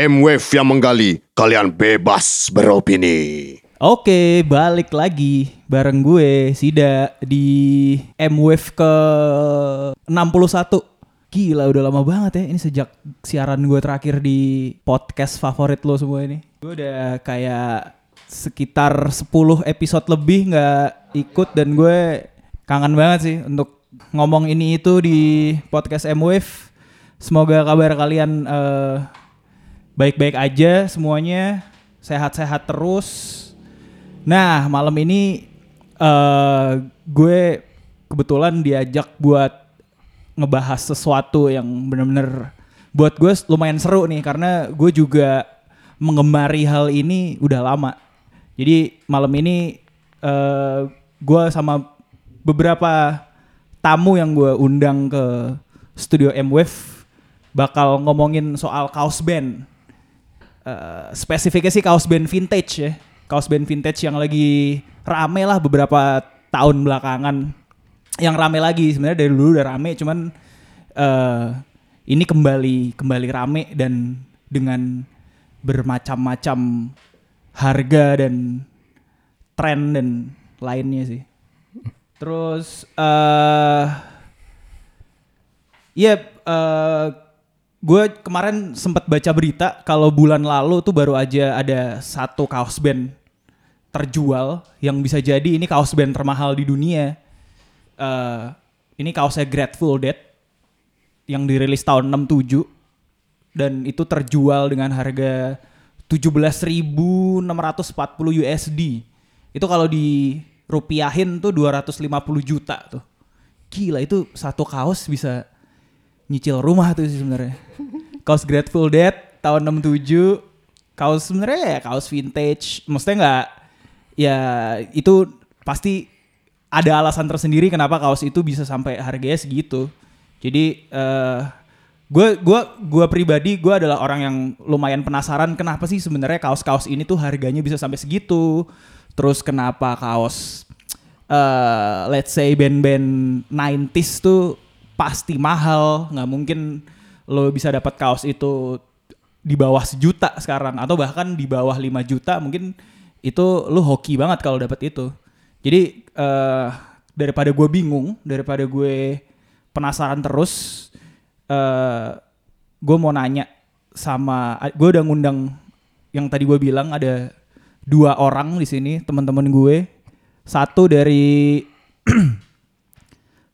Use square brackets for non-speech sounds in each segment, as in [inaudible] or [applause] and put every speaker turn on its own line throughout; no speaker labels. M-Wave yang menggali, kalian bebas beropini.
Oke, balik lagi bareng gue Sida di M Wave ke 61. Gila udah lama banget ya ini sejak siaran gue terakhir di podcast favorit lo semua ini. Gue udah kayak sekitar 10 episode lebih nggak ikut dan gue kangen banget sih untuk ngomong ini itu di podcast M Wave. Semoga kabar kalian eh, baik-baik aja semuanya sehat-sehat terus nah malam ini eh gue kebetulan diajak buat ngebahas sesuatu yang bener-bener buat gue lumayan seru nih karena gue juga mengemari hal ini udah lama jadi malam ini eh gue sama beberapa tamu yang gue undang ke studio M Wave bakal ngomongin soal kaos band. Eh, spesifiknya sih kaos band vintage ya. Kaos band vintage yang lagi rame lah beberapa tahun belakangan. Yang rame lagi sebenarnya dari dulu udah rame cuman eh, ini kembali kembali rame dan dengan bermacam-macam harga dan tren dan lainnya sih. Terus eh Iya, eh gue kemarin sempat baca berita kalau bulan lalu tuh baru aja ada satu kaos band terjual yang bisa jadi ini kaos band termahal di dunia. Eh ini kaosnya Grateful Dead yang dirilis tahun 67 dan itu terjual dengan harga 17.640 USD. Itu kalau di rupiahin tuh 250 juta tuh. Gila itu satu kaos bisa nyicil rumah tuh sih sebenarnya. Kaos Grateful Dead tahun 67. Kaos sebenarnya ya kaos vintage. Maksudnya nggak ya itu pasti ada alasan tersendiri kenapa kaos itu bisa sampai harganya segitu. Jadi eh gue gua gua pribadi gue adalah orang yang lumayan penasaran kenapa sih sebenarnya kaos-kaos ini tuh harganya bisa sampai segitu. Terus kenapa kaos eh let's say band-band 90s tuh pasti mahal, nggak mungkin lo bisa dapat kaos itu di bawah sejuta sekarang atau bahkan di bawah 5 juta mungkin itu lo hoki banget kalau dapat itu. Jadi eh daripada gue bingung, daripada gue penasaran terus eh gue mau nanya sama gue udah ngundang yang tadi gue bilang ada dua orang di sini teman-teman gue satu dari [clears throat]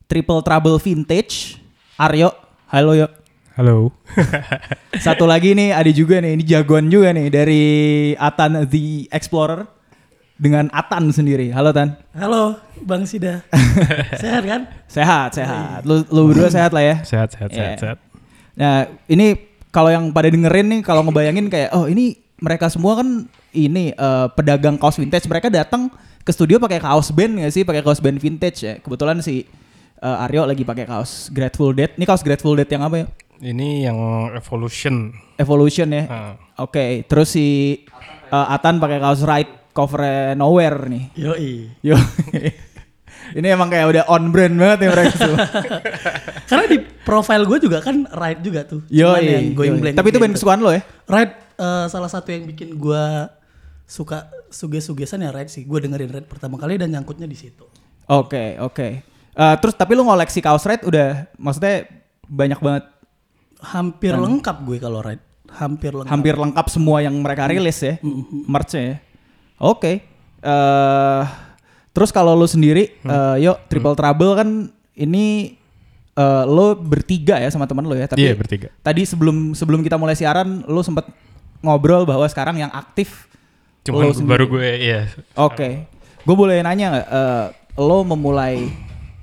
Triple Trouble Vintage Aryo halo yo
Halo.
satu lagi nih ada juga nih ini jagoan juga nih dari Atan the Explorer dengan Atan sendiri halo Tan
Halo, Bang
[laughs]
Sida. Sehat kan?
sehat sehat lu lu berdua sehat lah ya
Sehat, sehat,
Iya.
sehat, sehat.
Nah, ini kalau yang pada dengerin nih kalau ngebayangin kayak oh ini mereka semua kan ini eh, pedagang kaos vintage mereka datang ke studio pakai kaos band nggak sih? Pakai kaos band vintage ya. Kebetulan si eh, Aryo lagi pakai kaos Grateful Dead. Ini kaos Grateful Dead yang apa ya?
Ini yang Evolution.
Evolution ya.
Ah.
Oke, terus si eh, Atan pakai kaos Right cover Nowhere nih.
Yoi.
Yo. [laughs] ini emang kayak udah on brand banget ya mereka semua.
Karena di profile gue juga kan ride juga tuh.
Yo,
Cuman yang going blank. gitu
tapi itu band kesukaan lo ya?
Ride eh, salah satu yang bikin gue suka suges-sugesan ya ride sih. Gue dengerin ride pertama kali dan nyangkutnya di situ.
Oke, oke. Eh, terus tapi lu ngoleksi kaos red udah maksudnya banyak banget
Hampir lengkap gue kalau ride. Hampir lengkap.
hampir lengkap semua yang mereka rilis ya.
Mm,
Merch-nya ya. Oke. Eh terus kalau lu sendiri
Hmm.
eh yuk Triple Trouble kan ini eh lo bertiga ya sama teman lo ya, tapi
Iya, bertiga.
tadi sebelum sebelum kita mulai siaran lu sempet ngobrol bahwa sekarang yang aktif lu
Cuman
sendiri.
baru gue, iya.
Oke, gue boleh nanya nggak? eh, lo memulai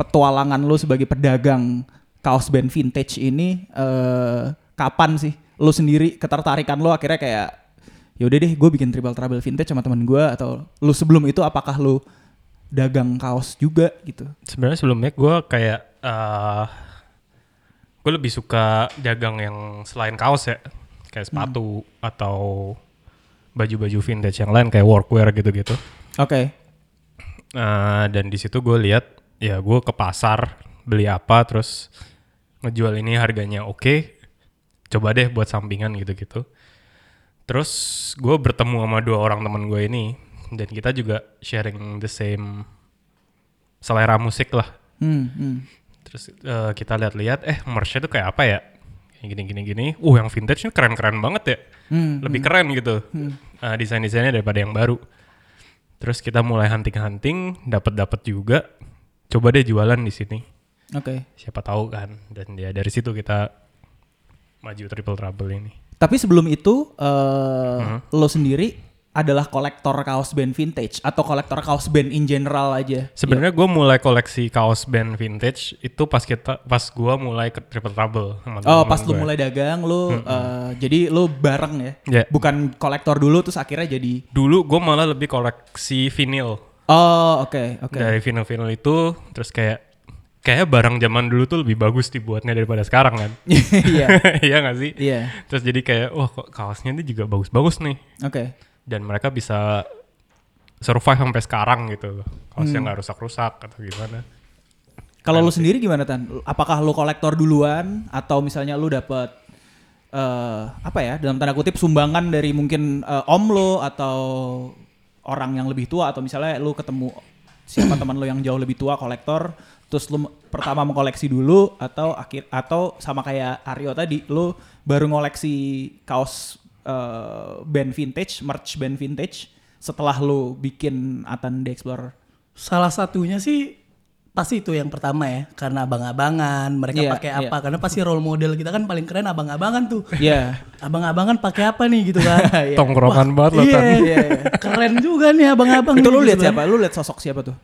petualangan lo sebagai pedagang kaos band vintage ini eh, kapan sih? Lo sendiri ketertarikan lo akhirnya kayak yaudah deh, gue bikin tribal trouble vintage sama teman gue atau lo sebelum itu apakah lo dagang kaos juga gitu?
Sebenarnya sebelumnya gue kayak eh gue lebih suka dagang yang selain kaos ya, kayak sepatu atau baju-baju vintage yang lain kayak workwear gitu-gitu.
Oke,
Nah, dan di situ gue lihat ya gue ke pasar beli apa terus ngejual ini harganya oke. Coba deh buat sampingan gitu-gitu. Terus gue bertemu sama dua orang teman gue ini dan kita juga sharing the same selera musik lah.
Hmm, hmm.
Terus eh, kita lihat-lihat, eh merch-nya tuh kayak apa ya? Kayak Gini-gini-gini. Uh, yang vintage-nya keren-keren banget ya.
Hmm,
Lebih keren gitu. Eh, Desain-desainnya daripada yang baru. Terus kita mulai hunting-hunting, dapat-dapat juga. Coba deh jualan di sini.
Oke.
Siapa tahu kan. Dan ya dari situ kita maju triple trouble ini.
Tapi sebelum itu eh, lo sendiri adalah kolektor kaos band vintage atau kolektor kaos band in general aja.
Sebenarnya gue mulai koleksi kaos band vintage itu pas kita pas gue mulai ke Triple Trouble.
Oh,
sama teman-teman
pas lo
gue.
mulai dagang lo eh, jadi lo bareng ya.
Iya.
Bukan kolektor dulu terus akhirnya jadi
Dulu gue malah lebih koleksi vinil
Oh, oke, oke.
dari vinil-vinil itu, terus kayak kayak barang zaman dulu tuh lebih bagus dibuatnya daripada sekarang kan. [laughs]
[laughs] Iya.
Iya nggak sih?
Iya.
Terus jadi kayak wah kok kaosnya ini juga bagus-bagus nih
Oke.
dan mereka bisa survive sampai sekarang
Hmm.
gitu. Kaosnya nggak rusak-rusak atau gimana.
Kalau lo sendiri gimana Tan? Apakah lo kolektor duluan atau misalnya lo dapet eh apa ya dalam tanda kutip sumbangan dari mungkin eh, om lo atau orang yang lebih tua atau misalnya lo ketemu siapa teman lo yang jauh lebih tua kolektor terus lo m- pertama mengkoleksi dulu atau akhir atau sama kayak Aryo tadi lo baru ngoleksi kaos eh, band vintage merch band vintage setelah lo bikin Atan The [laughs] Explorer.
Salah satunya sih pasti itu yang pertama ya karena abang-abangan mereka
Iya,
pakai
iya.
apa karena pasti role model kita kan paling keren abang-abangan tuh
Ya.
abang-abangan pakai apa nih gitu
[laughs]
kan
Iya.
Tongkrongan banget lo
iya
Tan.
Iya, iya.
keren juga nih abang-abang
Itu
nih,
lo
gitu
lihat
kan.
siapa? Lo lihat sosok siapa tuh?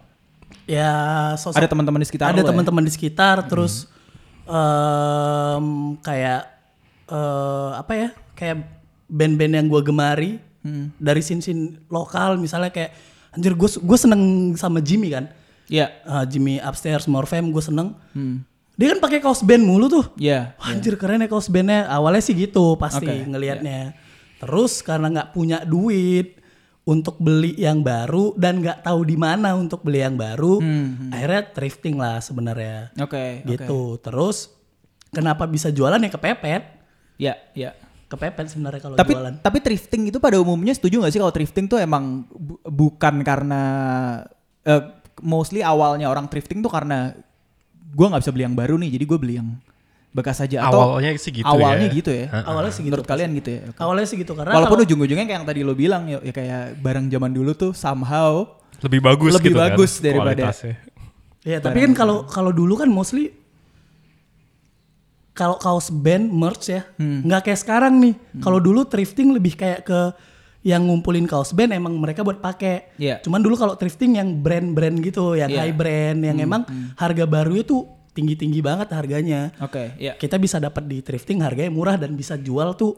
ya sosok
ada teman-teman di sekitar lo
ada
ya?
teman-teman di sekitar terus em, kayak eh, apa ya kayak band-band yang gue gemari
Hmm.
dari sin-sin lokal misalnya kayak anjir gue gue seneng sama Jimmy kan
Iya.
Eh, Jimmy upstairs more fame gue seneng
Hmm.
dia kan pakai kaos band mulu tuh
Iya.
Wah, anjir keren ya kaos bandnya awalnya sih gitu pasti
Oke, iya.
ngelihatnya terus karena nggak punya duit untuk beli yang baru dan nggak tahu di mana untuk beli yang baru akhirnya thrifting lah sebenarnya
Hmm, Oke. oke.
gitu terus kenapa bisa jualan ya kepepet
Iya, iya.
kepepet sebenarnya kalau
Tapi
jualan
tapi thrifting itu pada umumnya setuju nggak sih kalau thrifting tuh emang bu- bukan karena eh, mostly awalnya orang thrifting tuh karena gua nggak bisa beli yang baru nih, jadi gue beli yang bekas aja atau
Awalnya sih gitu
awalnya
ya.
gitu ya.
awalnya sih gitu
Menurut kalian gitu ya. Oke.
awalnya sih gitu karena
Walaupun
kalau-
ujung-ujungnya kayak yang tadi lo bilang ya, ya kayak barang zaman dulu tuh somehow
Lebih bagus
Lebih
gitu kan,
bagus daripada- ya.
kualitasnya.
Iya, tapi kan kalau kalau dulu kan mostly kalau kaos band merch ya,
Hmm.
nggak kayak sekarang nih. Kalau dulu thrifting lebih kayak ke yang ngumpulin kaos band emang mereka buat pakai.
Iya.
Cuman dulu kalau thrifting yang brand-brand gitu, yang
Iya. hmm.
high brand, yang emang harga barunya tuh tinggi-tinggi banget harganya.
Oke, iya.
Kita bisa dapat di thrifting harganya murah dan bisa jual tuh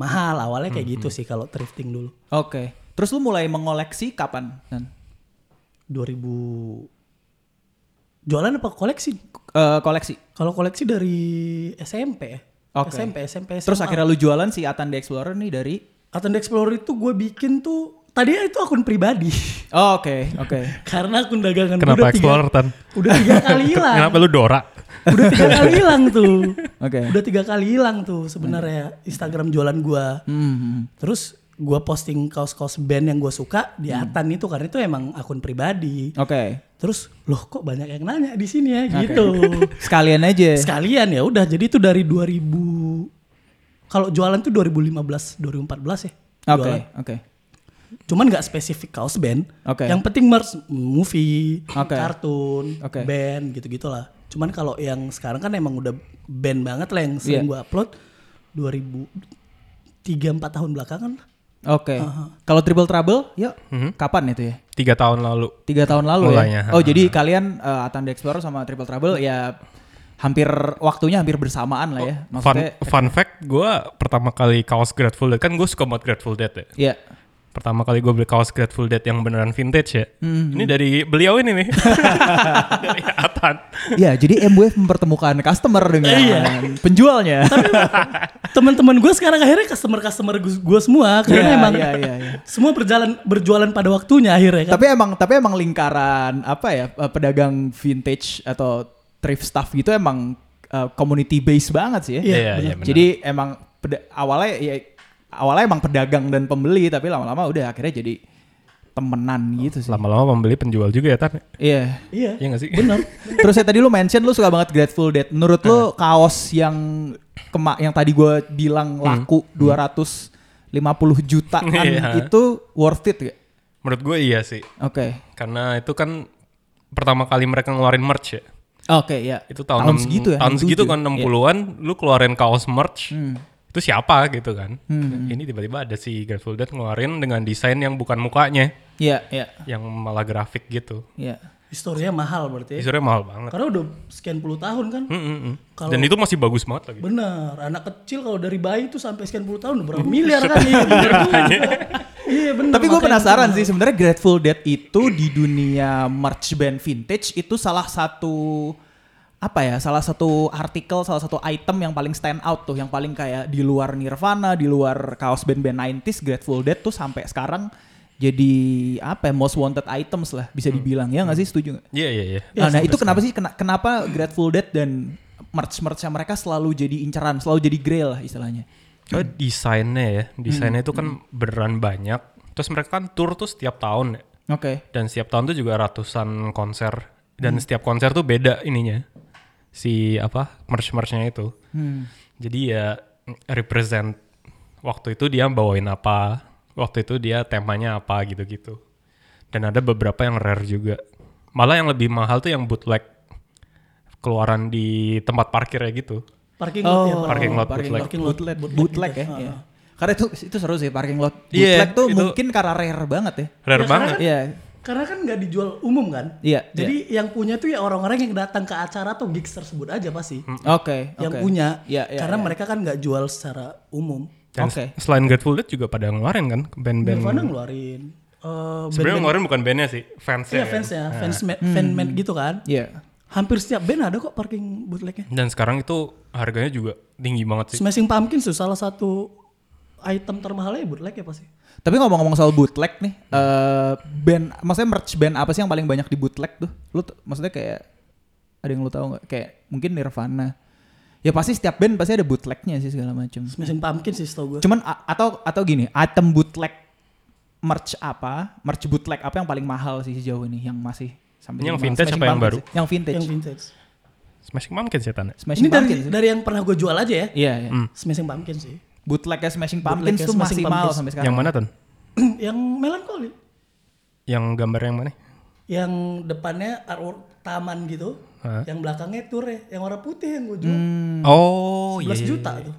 mahal. Awalnya
Hmm,
kayak gitu sih kalau thrifting dulu.
Oke. Terus lu mulai mengoleksi kapan? Nan?
2000 jualan apa koleksi?
Eh, koleksi.
Kalau koleksi dari SMP ya.
Oke.
SMP, SMP, SMA.
Terus akhirnya lu jualan si Atan The Explorer nih dari
Atten Explorer itu gue bikin tuh tadinya itu akun pribadi. [laughs]
Oh, oke, oke.
Karena akun dagangan gue
Kenapa
udah tiga,
Explorer Tan?
udah
[laughs]
tiga kali hilang.
Kenapa lu Dora?
Udah tiga kali hilang tuh.
Oke.
Udah tiga kali hilang tuh sebenarnya Instagram jualan gue.
Hmm,
Terus gue posting kaos-kaos band yang gue suka di
Hmm.
Atan itu karena itu emang akun pribadi.
Oke.
Terus loh kok banyak yang nanya di sini ya gitu.
Sekalian aja.
sekalian ya udah jadi itu dari 2000 kalau jualan tuh 2015
Oke,
2014 ya jualan.
oke.
cuman nggak spesifik kaos band
Oke.
yang penting merch movie
Oke.
kartun
Oke.
band gitu gitulah cuman kalau yang sekarang kan emang udah band banget lah yang
Iya.
sering gua upload 2000 tiga empat tahun belakangan lah.
Oke. Kalau Triple Trouble, yuk. Kapan itu ya?
Tiga tahun lalu.
Tiga tahun lalu
Mhm. Mulainya,
ya. Oh, jadi kalian eh, Atan The Explorer sama Triple Trouble ya hampir waktunya hampir bersamaan lah ya.
Oh, Fun,
Maksudnya
fun fact, gue pertama kali kaos Grateful Dead, kan gue suka banget Grateful Dead ya.
Iya.
Pertama kali gue beli kaos Grateful Dead yang beneran vintage ya. Ini dari beliau ini nih. dari Atan.
Ya, jadi MWF mempertemukan customer dengan
Iya.
penjualnya.
teman-teman gue sekarang akhirnya customer customer gue semua karena
Iya,
emang
iya, iya, iya.
[laughs] semua berjalan berjualan pada waktunya akhirnya kan
tapi emang tapi emang lingkaran apa ya eh, pedagang vintage atau thrift stuff gitu emang eh, community based banget sih ya.
Iya, iya, benar.
Jadi emang peda- awalnya ya awalnya emang pedagang dan pembeli tapi lama-lama udah akhirnya jadi temenan gitu sih.
Lama-lama pembeli penjual juga ya Tan.
Iya.
Iya.
Iya nggak sih?
Bener.
Terus ya tadi lu mention lu suka banget Grateful Dead. Menurut lu
Eh.
kaos yang kema yang tadi gue
Hmm.
bilang laku 250 jutaan
[laughs] Iya.
itu worth it gak?
[laughs] Menurut gue iya sih.
Oke.
Karena itu kan pertama kali mereka ngeluarin merch ya.
Oke ya.
Itu tahun, enam-
segitu ya.
Tahun segitu
67.
kan 60-an lu keluarin kaos merch. Itu siapa gitu kan. Ini tiba-tiba ada si Grateful Dead ngeluarin dengan desain yang bukan mukanya.
Iya, iya,
Yang malah grafik gitu.
iya.
Historinya mahal berarti. ya.
Desainnya mahal banget.
Karena udah sekian puluh tahun kan.
Mm, mm, mm.
Kalau-
Dan itu masih bagus banget lagi.
Bener, anak kecil kalau dari bayi tuh sampai sekian puluh tahun udah
Hmm.
berapa miliar
[laughs]
kali. Bener juga. Iya bener.
Tapi gue
makanya
penasaran
itu
sih sebenarnya Grateful Dead itu di dunia merch band vintage itu salah satu apa ya salah satu artikel salah satu item yang paling stand out tuh yang paling kayak di luar Nirvana di luar kaos band-band 90s Grateful Dead tuh sampai sekarang jadi apa ya, most wanted items lah bisa dibilang ya nggak sih setuju nggak?
Iya, iya, iya.
Nah, nah, itu kenapa sih kena- kenapa Grateful Dead dan merch merchnya mereka selalu jadi incaran selalu jadi grail lah istilahnya.
Karena Oh, desainnya ya, desainnya
Hmm,
itu kan beneran banyak. Terus mereka kan tour tuh setiap tahun ya.
Oke.
Dan setiap tahun tuh juga ratusan konser.
Hmm.
Dan setiap konser tuh beda ininya. Si apa, merch-merchnya itu.
Hmm.
Jadi ya represent waktu itu dia bawain apa, waktu itu dia temanya apa gitu-gitu. Dan ada beberapa yang rare juga. Malah yang lebih mahal tuh yang bootleg keluaran di tempat parkir ya gitu.
Parking lot ya.
Oh,
parking lot bootleg.
Parking
Parking
lot
lot
bootleg,
bootleg
bootleg
gitu.
ya. iya. Karena itu itu seru sih parking lot
Iya,
bootleg tuh
itu-
mungkin karena rare banget ya.
Rare
Ya,
banget.
karena-
Iya.
Karena kan nggak dijual umum kan.
Iya,
Jadi yang punya tuh ya orang-orang yang datang ke acara atau gigs tersebut aja pasti.
Hmm.
Oke,
Yang
oke.
punya.
Iya, iya,
karena
iya.
mereka kan nggak jual secara umum.
Dan
Oke.
selain Grateful Dead juga pada ngeluarin kan band-band.
Nirvana ngeluarin. eh,
Sebenarnya
band-band-
ngeluarin bukan bandnya sih, fansnya.
Iya
kan.
fans ya, fans ma- fan made gitu kan.
Hmm. Iya.
Hampir setiap band ada kok parking bootlegnya.
Dan sekarang itu harganya juga tinggi banget sih.
Smashing Pumpkins tuh salah satu item termahalnya ya bootleg ya pasti.
Tapi ngomong-ngomong soal bootleg nih, eh band maksudnya merch band apa sih yang paling banyak di bootleg tuh? Lu t- maksudnya kayak ada yang lu tahu nggak? Kayak mungkin Nirvana. Ya pasti setiap band pasti ada bootlegnya sih segala macam.
Smashing Pumpkins sih setahu gue.
Cuman a- atau atau gini, item bootleg merch apa? Merch bootleg apa yang paling mahal sih sejauh ini yang masih sampai
Yang
mahal?
vintage
Smashing
apa yang
Pumpkins
baru?
sih. Yang vintage.
Yang vintage.
Smashing Pumpkins ya Tan?
Smashing
Ini dari
Pumpkins.
dari yang pernah gue jual aja ya.
Iya, iya.
Hmm.
Smashing Pumpkins sih. [clears throat]
Bootlegnya Smashing Pumpkins
Bootlegnya
tuh masih
Smashing
mahal
Pumpkins.
sampai sekarang.
Yang mana Tan?
yang melankoli.
Yang gambar yang mana?
Yang depannya artwork taman gitu.
Hah?
Yang belakangnya ture, yang warna putih yang gue jual.
Oh
11
iya.
Hmm, juta tuh.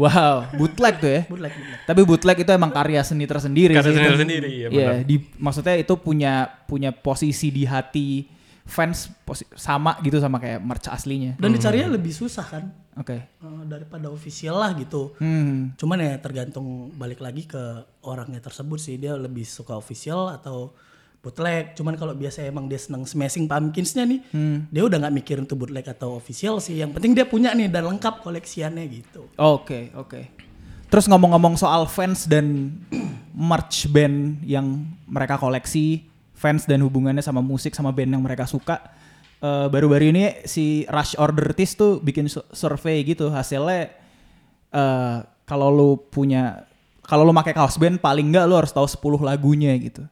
Wow, bootleg tuh ya.
Bootleg, bootleg.
Tapi bootleg itu emang karya seni tersendiri.
Karya
sih.
seni
Itu-
tersendiri, iya
Iya, di maksudnya itu punya punya posisi di hati fans posi- sama gitu sama kayak merch
Hmm.
aslinya.
Dan dicarinya lebih susah kan
Oke.
eh, daripada official lah gitu.
Hmm.
Cuman ya tergantung balik lagi ke orangnya tersebut sih dia lebih suka official atau bootleg. Cuman kalau biasa emang dia seneng smashing pumpkinsnya nih, dia udah nggak mikirin tuh bootleg atau official sih. Yang penting dia punya nih dan lengkap koleksiannya gitu.
Oke, oke. Terus ngomong-ngomong soal fans dan merch band yang mereka koleksi, fans dan hubungannya sama musik sama band yang mereka suka. Eh, Baru-baru ini si Rush Order Tis tuh bikin su- survei gitu, hasilnya eh kalau lu punya kalau lu pakai kaos band paling nggak lu harus tahu 10 lagunya gitu.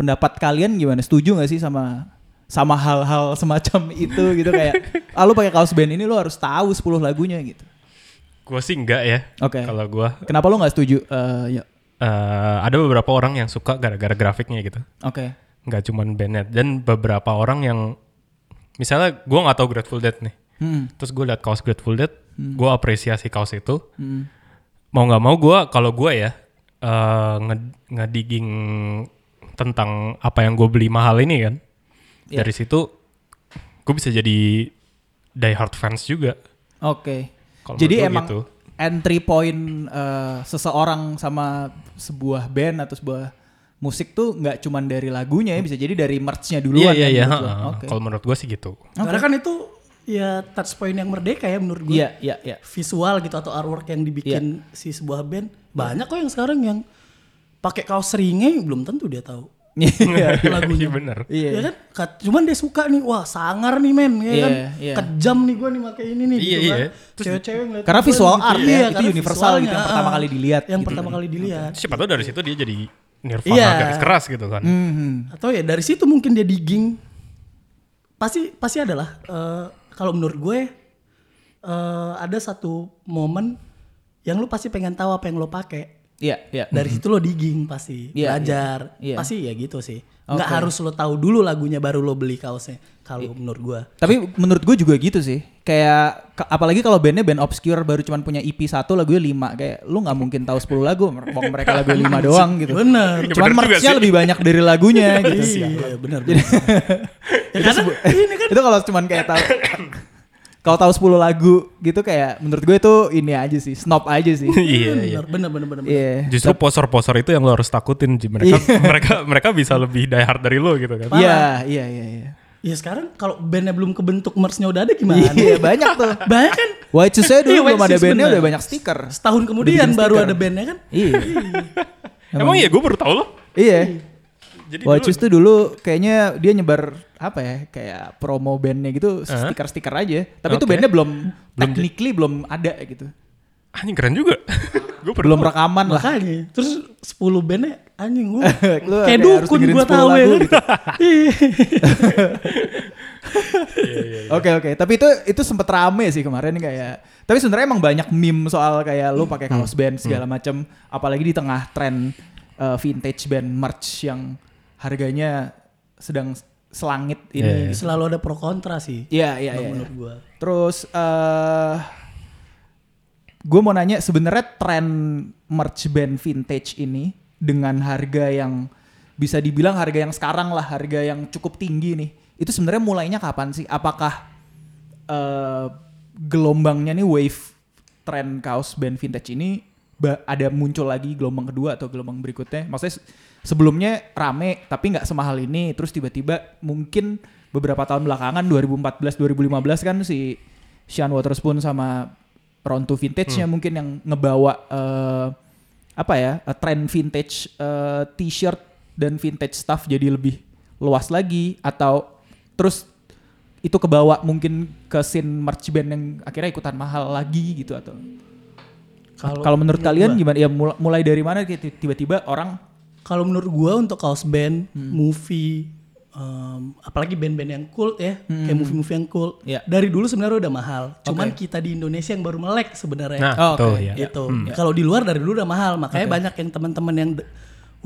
Pendapat kalian gimana? Setuju nggak sih sama sama hal-hal semacam itu gitu kayak ah, lu pakai kaos band ini lu harus tahu 10 lagunya gitu.
Gua sih enggak ya.
Oke.
Kalau gua
Kenapa lo nggak setuju? Eh, ya.
eh, ada beberapa orang yang suka gara-gara grafiknya gitu.
Oke.
Nggak cuman bandnya dan beberapa orang yang misalnya gua nggak tahu Grateful Dead nih.
Hmm.
Terus gue liat kaos Grateful Dead, gua apresiasi kaos itu. Mau nggak mau gua kalau gua ya eh, nge- ngedigging tentang apa yang gue beli mahal ini kan.
Iya.
Dari situ gue bisa jadi die hard fans juga.
Oke.
Kalau
Jadi
menurut lu
emang
gitu.
entry point eh, seseorang sama sebuah band atau sebuah musik tuh nggak cuman dari lagunya ya, bisa jadi dari merch-nya duluan.
Iya iya
kan,
iya.
menurut lo.
heeh.
Oke.
Kalau menurut gue sih gitu.
Karena kan itu ya touch point yang merdeka ya menurut gue.
Iya iya iya.
Visual gitu atau artwork yang dibikin si sebuah band banyak kok yang sekarang yang pakai kaos seringai belum tentu dia tahu
[laughs]
Iya.
Lagunya bener.
Iya.
Ya kan? Kat- Cuman dia suka nih, wah sangar nih men, ya
Iya,
kan?
iya.
Kejam nih gue nih pakai ini nih.
Iya,
gitu kan.
iya. Terus-
Cewek-cewek ngeliat
Karena
gua
visual
gitu.
art ya, itu
Iya, karena
universal gitu, yang
visualnya,
pertama
ah.
kali dilihat
Yang
gitu.
pertama kali dilihat.
Siapa tahu dari situ dia jadi Nirvana
Iya.
garis keras gitu kan.
Atau ya dari situ mungkin dia digging. Pasti pasti adalah eh, kalau menurut gue eh, ada satu momen yang lu pasti pengen tahu apa yang lo pakai.
Iya, iya.
Dari situ lo digging pasti,
Iya,
belajar.
iya, iya.
Pasti ya gitu sih. Nggak
Oke.
harus lo tahu dulu lagunya baru lo beli kaosnya kalau menurut gue.
Tapi menurut gue juga gitu sih. Kayak ka- apalagi kalau bandnya band obscure baru cuman punya EP 1 lagunya 5 kayak lu nggak mungkin tahu 10 lagu, wong mereka lagu
[laughs]
5 doang gitu.
Bener.
Cuman
Ya, bener juga
merch-nya
sih.
lebih banyak dari
[laughs]
lagunya gitu.
Iya, benar. benar. ya,
Iya,
karena [laughs] ini kan
itu kalau cuman kayak tahu kalau tahu 10 lagu gitu kayak menurut gue itu ini aja sih, snob aja sih.
Iya, [laughs] iya.
benar, benar, benar, benar.
Iya.
Justru poser-poser itu yang lo harus takutin. Ji. Mereka [laughs] mereka mereka bisa lebih die hard dari lo gitu kan.
Iya, iya, iya, iya.
Ya sekarang kalau bandnya belum kebentuk merch-nya udah ada gimana?
Iya, banyak tuh.
Banyak kan?
White Shoes saya
Iya,
dulu belum
White
ada
Shoes
bandnya
bener.
udah banyak stiker.
Setahun kemudian
bikin
baru
stiker.
ada bandnya kan?
Iya.
Emang iya gue baru tahu lo.
iya.
Jadi
White
dulu-
Shoes tuh dulu kayaknya dia nyebar apa ya kayak promo bandnya gitu stiker-stiker aja. Tapi itu
Oke.
bandnya belum, technically belum ada gitu.
anjing Ah, keren juga. [laughs] gue baru
Belum
tahu.
rekaman lah.
Makanya. Terus 10 bandnya anjing gua.
[laughs] Lu
kayak
ada- harus
dukun
dengerin
gua
10
tahu ya
[laughs] lagu
[laughs] kan.
gitu. Oke oke, tapi itu itu sempet rame sih kemarin kayak. Tapi sebenarnya emang banyak meme soal kayak lu pakai
Hmm.
kaos band segala macem apalagi di tengah tren eh, vintage band merch yang harganya sedang selangit ini.
Selalu ada pro kontra sih.
Iya iya
Iya, kalau
iya.
Menurut gua.
Terus eh gue mau nanya sebenarnya tren merch band vintage ini dengan harga yang bisa dibilang harga yang sekarang lah harga yang cukup tinggi nih itu sebenarnya mulainya kapan sih? Apakah eh gelombangnya nih wave tren kaos band vintage ini ba- ada muncul lagi gelombang kedua atau gelombang berikutnya? Maksudnya se- sebelumnya rame tapi nggak semahal ini terus tiba-tiba mungkin beberapa tahun belakangan 2014 2015 kan si Sean Waterspoon sama Ron to Vintage-nya mungkin yang ngebawa eh, apa ya eh, tren vintage eh, t-shirt dan vintage stuff jadi lebih luas lagi atau terus itu kebawa mungkin ke scene merch band yang akhirnya ikutan mahal lagi gitu atau kalau menurut kalian gimana ya mula- mulai dari mana gitu, tiba-tiba orang
Kalau menurut gua untuk kaos band, movie, em, apalagi band-band yang cool ya, kayak movie-movie yang cool.
Iya.
Dari dulu sebenarnya udah mahal. Cuman kita di Indonesia yang baru melek sebenarnya.
Nah,
Oh, oke.
tuh ya.
gitu. Kalau di luar dari dulu udah mahal, makanya banyak yang teman-teman yang d-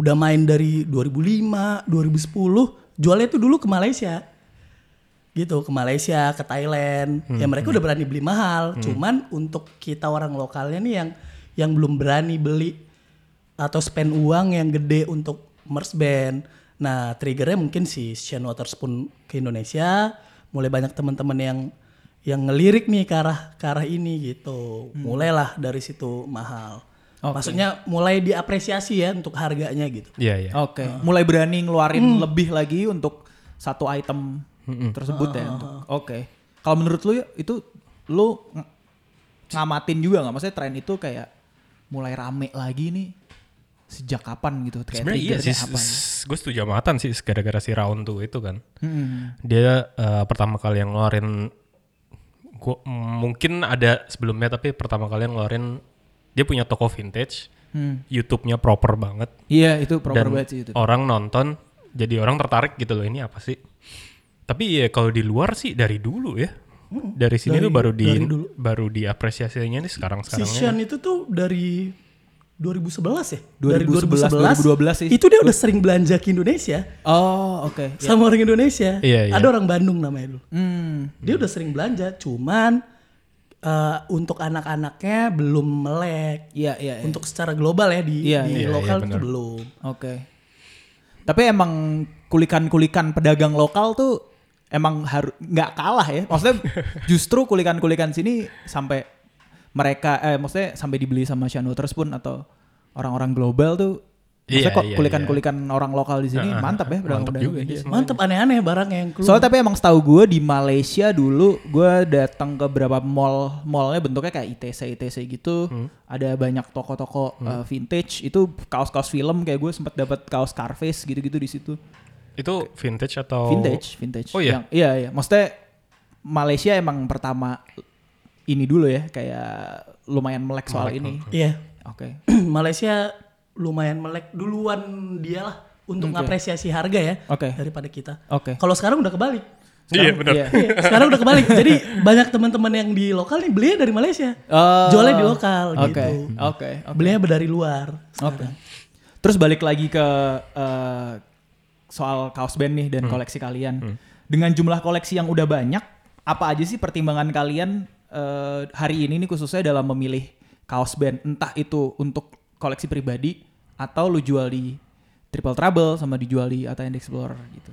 udah main dari 2005, 2010, jualnya itu dulu ke Malaysia. Gitu, ke Malaysia, ke Thailand. Ya mereka udah berani beli mahal, cuman untuk kita orang lokalnya nih yang yang belum berani beli atau spend uang yang gede untuk merch band. Nah, triggernya mungkin si Sean Waterspoon ke Indonesia, mulai banyak teman-teman yang yang ngelirik nih ke arah ke arah ini gitu. Mulailah dari situ mahal. Maksudnya mulai diapresiasi ya untuk harganya gitu.
Iya iya.
Oh, oke Ya. mulai berani ngeluarin lebih lagi untuk satu item tersebut ya untuk- oke kalau menurut lu ya, itu lu ng- ngamatin juga nggak maksudnya tren itu kayak mulai rame lagi nih sejak kapan gitu kayak
Sebenarnya iya
triggernya
sih.
apa gitu? ya? nih?
Gue setuju sama Atan sih gara-gara si round tuh itu kan.
Hmm.
Dia eh, pertama kali yang ngeluarin gua mungkin ada sebelumnya tapi pertama kali yang ngeluarin dia punya toko vintage. YouTube-nya proper banget
Iya itu Hmm. proper
dan
banget sih itu.
orang nonton jadi orang tertarik gitu loh ini apa sih. Tapi ya kalau di luar sih dari dulu ya.
Hmm.
Dari sini tuh baru di baru diapresiasinya nih
Si
sekarang-sekarang.
kan.
Sean itu tuh dari 2011 ya?
2011,
dari
2012 sih.
Itu dia udah sering belanja ke Indonesia
Oh oke. Ya.
sama orang Indonesia.
Iya, iya.
Ada orang Bandung namanya dulu.
Hmm.
dia udah sering belanja cuman eh, untuk anak-anaknya belum melek
Iya iya. iya.
untuk secara global ya di,
Iya,
di
iya,
lokal
iya,
itu
benar.
belum
Oke. Tapi emang kulikan-kulikan pedagang lokal tuh emang harus nggak kalah ya. Maksudnya justru kulikan-kulikan sini sampai mereka eh maksudnya sampai dibeli sama Sean Waters pun atau orang-orang global tuh Maksudnya
Iya,
kok
iya,
kulikan-kulikan orang lokal di sini mantap ya
Mantap
berang-berang
juga
juga.
dia sebenarnya.
Mantep aneh-aneh barangnya yang keluar.
Soalnya tapi emang setahu gue di Malaysia dulu gue datang ke beberapa mall, mallnya bentuknya kayak ITC ITC gitu. Ada banyak toko-toko uh, vintage itu kaos-kaos film kayak gue sempet dapat kaos Carface gitu-gitu di situ.
Itu vintage atau
Vintage, vintage.
Oh
Yang-
iya?
iya iya. Maksudnya Malaysia emang pertama ini dulu ya kayak lumayan melek soal ini.
Iya. [clears throat]
Oke.
Malaysia lumayan melek duluan dia lah untuk mengapresiasi harga ya
Oke.
daripada kita.
Oke.
Kalau sekarang udah kebalik.
Iya benar. [laughs]
Iya.
Iya, sekarang udah kebalik. Jadi banyak teman-teman yang di lokal nih belinya dari Malaysia.
Oh.
Jualnya di lokal
Oke.
gitu.
Oke. oke.
Belinya dari luar.
Oke. Terus balik lagi ke eh, soal kaos band nih dan koleksi kalian. Dengan jumlah koleksi yang udah banyak, apa aja sih pertimbangan kalian eh, hari ini nih khususnya dalam memilih kaos band? Entah itu untuk koleksi pribadi atau lu jual di Triple Trouble sama dijual di Atlantic Explorer gitu.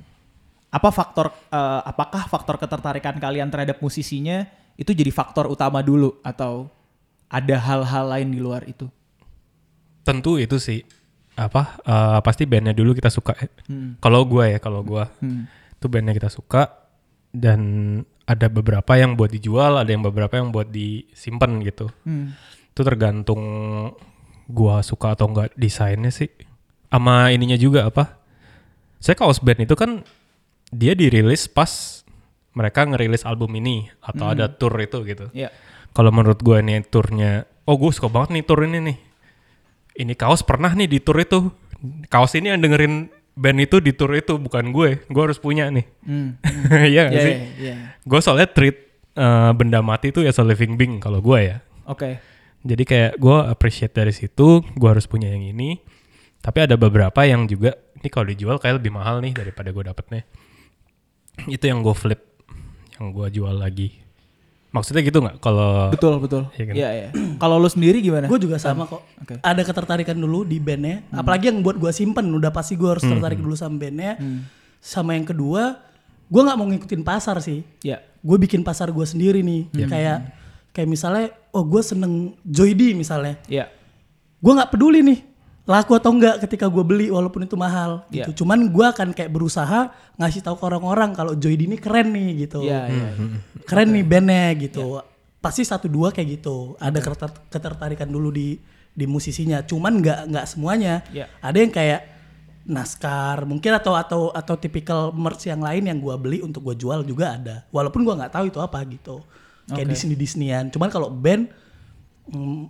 Apa faktor eh, apakah faktor ketertarikan kalian terhadap musisinya itu jadi faktor utama dulu atau ada hal-hal lain di luar itu?
Tentu itu sih apa eh, pasti bandnya dulu kita suka. Kalau gua ya kalau gua itu bandnya kita suka dan ada beberapa yang buat dijual, ada yang beberapa yang buat disimpan gitu. Itu tergantung gua suka atau enggak desainnya sih. Sama ininya juga apa? Saya kaos band itu kan dia dirilis pas mereka ngerilis album ini atau ada tour itu gitu.
Iya.
Kalau menurut gue ini turnya, oh gue suka banget nih tour ini nih. Ini kaos pernah nih di tour itu. Kaos ini yang dengerin band itu di tour itu bukan gue. Gue harus punya nih.
Hmm.
[laughs] Iya nggak
Iya,
sih?
iya, iya.
Gue soalnya treat eh, benda mati itu ya a living being kalau gue ya.
Oke.
Jadi kayak gue appreciate dari situ, gue harus punya yang ini. Tapi ada beberapa yang juga, ini kalau dijual kayak lebih mahal nih daripada gue dapetnya. Itu yang gue flip, yang gue jual lagi. Maksudnya gitu nggak? Kalau
Betul, betul.
Iya kan?
Iya, iya. [clears throat] Kalau lu sendiri gimana?
Gue juga sama kok.
Oke. Hmm.
Ada ketertarikan dulu di bandnya. Apalagi yang buat gue simpen. Udah pasti gue harus tertarik dulu sama bandnya.
Hmm.
Sama yang kedua, gue nggak mau ngikutin pasar sih.
Iya.
gue bikin pasar gue sendiri nih
Hmm.
kayak kayak misalnya oh gue seneng Joydi misalnya
Iya.
gue nggak peduli nih laku atau enggak ketika gue beli walaupun itu mahal gitu
Iya.
cuman gue akan kayak berusaha ngasih tahu ke orang-orang kalau Joydi ini keren nih gitu
Iya, iya.
keren nih bandnya gitu pasti satu dua kayak gitu ada
Iya.
keter- ketertarikan dulu di di musisinya cuman nggak nggak semuanya
Iya.
ada yang kayak naskar mungkin atau atau atau tipikal merch yang lain yang gua beli untuk gua jual juga ada walaupun gua nggak tahu itu apa gitu kayak
Oke.
Disney Disneyan cuman kalau band mm,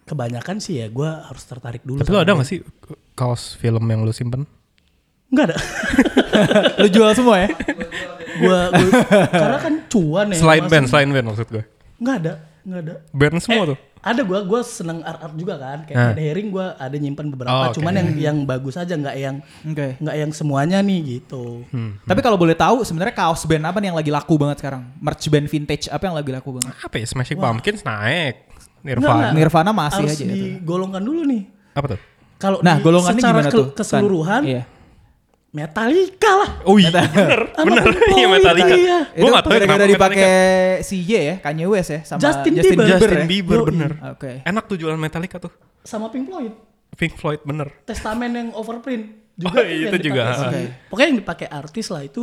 kebanyakan sih ya gua harus tertarik dulu
Tapi lo ada gak sih kaos film yang lo simpen?
nggak
[laughs]
ada
lu jual semua ya?
gua, gua- karena kan cuan ya
Selain
Mas.
band, selain band maksud gue.
nggak ada nggak ada
Band semua tuh.
Eh, ada gua gua seneng art art juga kan kayak
Nah.
Red herring gua ada nyimpan
Oh,
beberapa
oke.
cuman yang yang bagus aja nggak yang
Oke.
nggak yang semuanya nih gitu
Hmm.
Tapi kalau boleh tahu sebenarnya kaos band apa nih yang lagi laku banget sekarang? Merch band vintage apa yang lagi laku banget?
Apa ya? Smashing Pumpkins naik.
Nggak,
Nirvana.
nggak.
Nirvana masih
harus
aja ya tuh.
digolongkan dulu nih
Apa tuh?
kalau
Nah,
di-
golongannya
secara
gimana
ke-
tuh? Tan?
keseluruhan
Iya.
Metallica lah
Oh iya bener,
Apa
bener.
Pink
Iya
Floyd,
Metallica.
iya.
Gue gak tau ya
gara-gara
kenapa
dipakai
Metallica.
CJ ya, Kanye West ya sama
Justin Bieber.
Bieber.
Justin
ya?
Bieber,
Yoi.
bener.
Oke.
Enak tuh jualan Metallica tuh.
sama Pink Floyd
Pink Floyd bener.
testamen yang overprint
Oh, [laughs]
juga tuh
iya,
yang
itu
dipakai
juga.
sih.
Oke.
pokoknya yang dipakai artis lah itu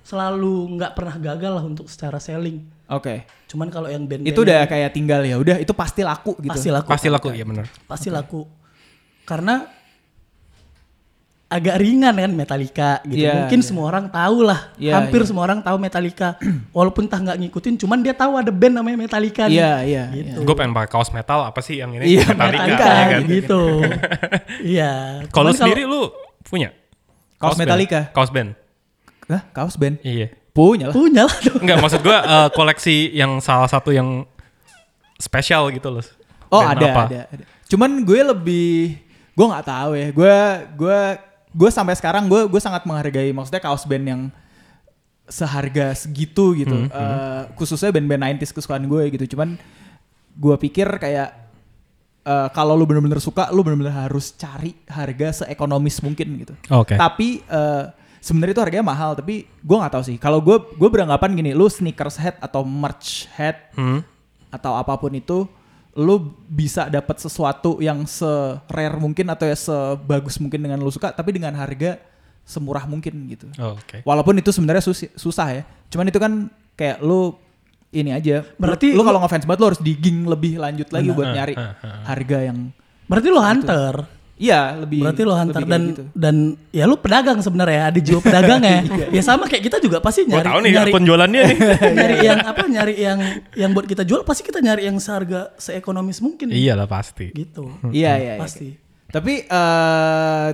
selalu nggak pernah gagal lah untuk secara selling
Oke.
cuman kalau yang band
Itu udah kayak tinggal ya, udah itu pasti laku gitu.
pasti laku
Pasti laku ya bener.
pasti laku karena agak ringan kan Metallica gitu
Iya,
mungkin
iya.
semua orang tahu lah
Iya,
hampir
iya.
semua orang tahu Metallica walaupun tah nggak ngikutin cuman dia tahu ada band namanya Metallica nih.
Iya, iya,
gitu
Gue pengen pakai kaos metal apa sih yang ini?
Iya,
Metallica
ya kan?
gitu
[laughs]
iya
Kalau
Cuman
sendiri lu punya?
Kaos
band?
Metallica.
Kaos band?
Hah, kaos band?
Iya.
Punya lah.
punya lah tuh.
Enggak maksud gue eh, koleksi yang salah satu yang spesial gitu loh.
Oh
Band
ada,
apa?
ada ada. Cuman gue lebih gue nggak tahu ya. Gue gue gue sampai sekarang gue gue sangat menghargai maksudnya kaos band yang seharga segitu gitu.
Hmm,
Eh, khususnya band-band 90s kesukaan gue gitu. Cuman gue pikir kayak eh, kalau lu bener-bener suka, lu bener-bener harus cari harga seekonomis mungkin gitu.
Oke.
Tapi eh, sebenarnya itu harganya mahal, tapi gue nggak tahu sih. Kalau gue gue beranggapan gini, lu sneakers head atau merch head
Hmm.
atau apapun itu lu bisa dapat sesuatu yang se-rare mungkin atau ya sebagus mungkin dengan lu suka tapi dengan harga semurah mungkin gitu.
Oh, Oke.
Walaupun itu sebenarnya susi- susah ya. Cuman itu kan kayak lu ini aja.
Berarti
lu, lu
lu- Nah,
kalau ngefans banget lu harus digging lebih lanjut lagi buat
Heeh,
nyari
heeh,
harga yang
Berarti lo hunter.
iya lebih
Berarti lo hunter
lebih
dan
kayak gitu.
dan ya lo pedagang sebenarnya ada jiwa
[laughs]
pedagang ya.
Iya.
ya sama kayak kita juga pasti
Gua
nyari
tahu nih
nyari,
akun jualannya nih.
nyari
Iya.
yang apa nyari yang yang buat kita jual pasti kita nyari yang seharga seekonomis mungkin.
Iya lah pasti.
Gitu.
Iya iya iya.
Pasti.
Tapi eh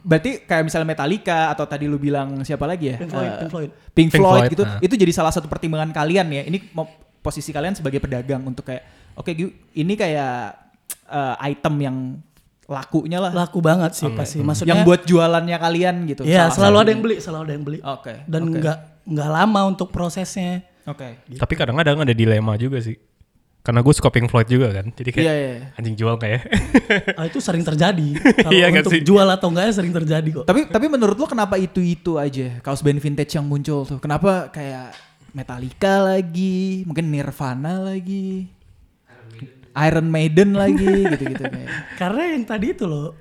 berarti kayak misalnya Metallica atau tadi lu bilang siapa lagi ya?
Pink Floyd,
Eh,
Pink Floyd.
Pink
Pink
Floyd
Floyd,
gitu.
nah.
Itu jadi salah satu pertimbangan kalian ya. Ini mau posisi kalian sebagai pedagang untuk kayak oke Gu, ini kayak eh, item yang lakunya lah.
Laku banget sih pasti. Maksudnya
Hmm. yang buat jualannya kalian gitu.
Iya,
salah
selalu
satu.
ada yang beli, selalu ada yang beli.
Oke.
Dan
oke,
nggak nggak lama untuk prosesnya.
Oke.
Tapi kadang-kadang ada dilema juga sih. Karena gue suka Pink Floyd juga kan. Jadi kayak
Iya, iya, iya.
anjing jual ya? kayak.
Ah, itu sering
[laughs]
terjadi. Kalau
Iya nggak
untuk
sih?
jual atau enggaknya sering terjadi kok.
Tapi tapi menurut lu kenapa itu-itu aja kaos band vintage yang muncul tuh? Kenapa kayak Metallica lagi, mungkin Nirvana lagi. Iron Maiden lagi gitu-gitu kayak.
Karena yang tadi itu loh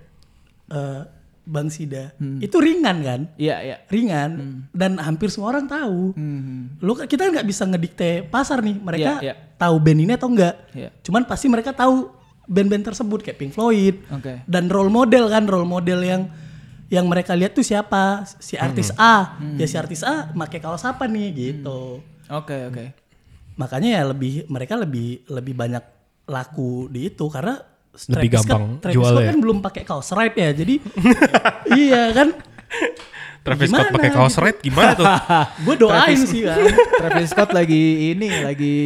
eh, Bang Sida,
Hmm.
itu ringan kan?
Iya, iya.
Ringan dan hampir semua orang tahu.
Hmm.
Lu kita nggak bisa ngedikte pasar nih, mereka
Iya, iya.
tahu band ini atau enggak.
Iya.
Cuman pasti mereka tahu band-band tersebut kayak Pink Floyd
Oke.
dan role model kan, role model yang yang mereka lihat tuh siapa? Si artis
Hmm.
A. Ya si artis A pakai kaos apa nih gitu.
Oke, oke.
makanya ya lebih mereka lebih lebih banyak laku di itu karena
Lebih
Travis
gampang
Scott, Travis
jual
Scott
ya.
kan belum pakai kaos right ya jadi [laughs] iya kan
[laughs] [laughs] Travis Scott
Gimana
pakai kaos
gitu?
red gimana
[laughs]
tuh?
gue doain sih kan
Travis Scott lagi ini lagi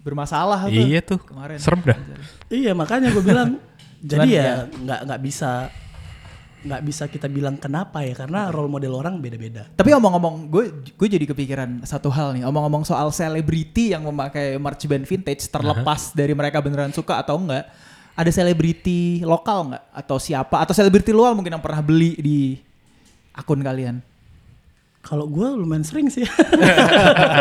bermasalah tuh.
iya tuh.
Kemarin.
Serem dah.
iya makanya gue
[laughs]
bilang jadi
Cuman
ya
ya.
nggak nggak bisa nggak bisa kita bilang kenapa ya karena role model orang beda-beda
Tapi omong-omong, gue gue jadi kepikiran satu hal nih. Omong-omong soal selebriti yang memakai merch band vintage terlepas dari mereka beneran suka atau enggak, ada selebriti lokal enggak atau siapa atau selebriti luar mungkin yang pernah beli di akun kalian.
kalau gue lumayan sering sih [laughs]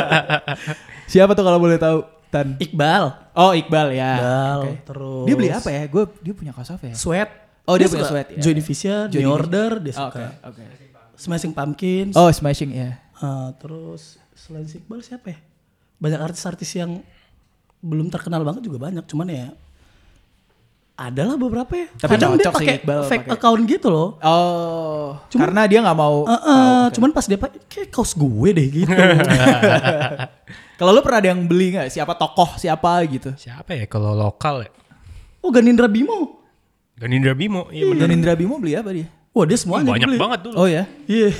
Siapa tuh kalau boleh tahu? Tan.
Iqbal
Oh, Iqbal ya.
Iqbal
Oke.
terus
Dia beli apa ya? Gue dia punya kaos apa ya?
sweat
Oh, dia punya
suka
Sweat, ya.
Joy Division
Joy
New
Division.
Order dia
Oh,
suka
Oke, oke.
Smashing Pumpkins
Oh, smashing ya.
Ah, terus selain si Iqbal siapa ya? Banyak artis-artis yang belum terkenal banget juga banyak, cuman ya adalah beberapa ya.
Tapi
Kadang dia
cocok sih
pakai
Iqbal
fake
pakai.
account gitu loh.
Oh,
Cuman-
karena dia nggak mau.
Eh, eh, Cuman pas dia pakai kayak kaos gue deh
[laughs]
gitu.
Kalau lu pernah ada yang beli nggak? Siapa tokoh siapa gitu?
Siapa ya kalau lokal ya?
oh Ganindra Bimo.
Ganindra Bimo. Iya bener.
Dan Indra Bimo beli apa dia?
Wah dia semuanya
Banyak
dibeli.
banget dulu.
Oh ya.
Iya.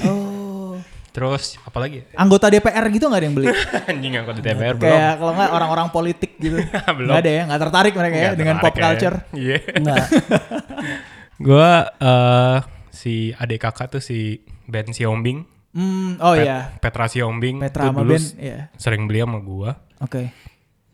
Terus apalagi ya?
Anggota DPR gitu nggak ada yang beli?
[laughs] Anjing aku di DPR belum.
Kayak kalau nggak orang-orang politik gitu.
[laughs] Belum.
Nggak ada ya, nggak tertarik mereka ya
Nggak
dengan
tertarik
pop culture.
kayaknya. Iya.
Enggak.
Gue eh, si adik kakak tuh si Ben Siombing.
Hmm, oh
Pet-
iya.
Petra Siombing.
Petra
tuh
sama
dulu
Ben,
s-
iya.
Sering beli sama gue.
Oke.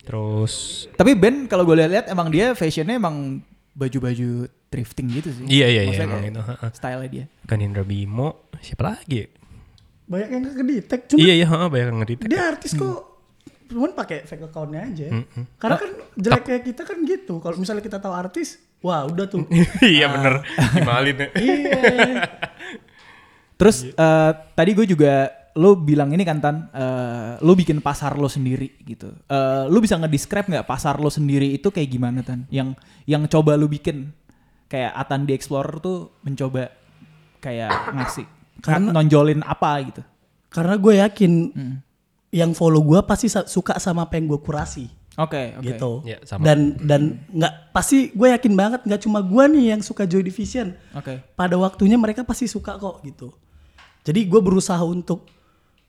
Terus
Tapi Ben kalau gue lihat emang dia fashionnya emang baju-baju thrifting gitu sih.
Iya, iya, iya,
Maksudnya
emang
kayak
gitu, ha-ha.
Style-nya dia.
Ganindra Bimo. Siapa lagi ya?
[laughs] Banyak yang gak kedetek. Cuman
Iya iya heeh, banyak yang ngedetect.
dia artis kok cuman pakai fake accountnya aja.
Nah,
Karena kan jeleknya kita kan gitu. Kalau misalnya kita tahu artis, wah udah tuh.
[laughs] Iya
[laughs]
bener Dimalin ya.
Iya.
Terus eh, tadi gue juga lo bilang ini kan Tan, eh, lo bikin pasar lo sendiri gitu. Eh, lo bisa ngedescribe nggak pasar lo sendiri itu kayak gimana Tan? Yang yang coba lo bikin kayak Atan di Explorer tuh mencoba kayak ngasih
Karena-
nonjolin apa gitu.
Karena gue yakin yang follow gue pasti sa- suka sama apa yang gue kurasi
Oke, oke.
gitu.
Ya, sama.
Dan dan nggak pasti gue yakin banget nggak cuma gue nih yang suka Joy Division.
Oke.
Pada waktunya mereka pasti suka kok gitu. Jadi gue berusaha untuk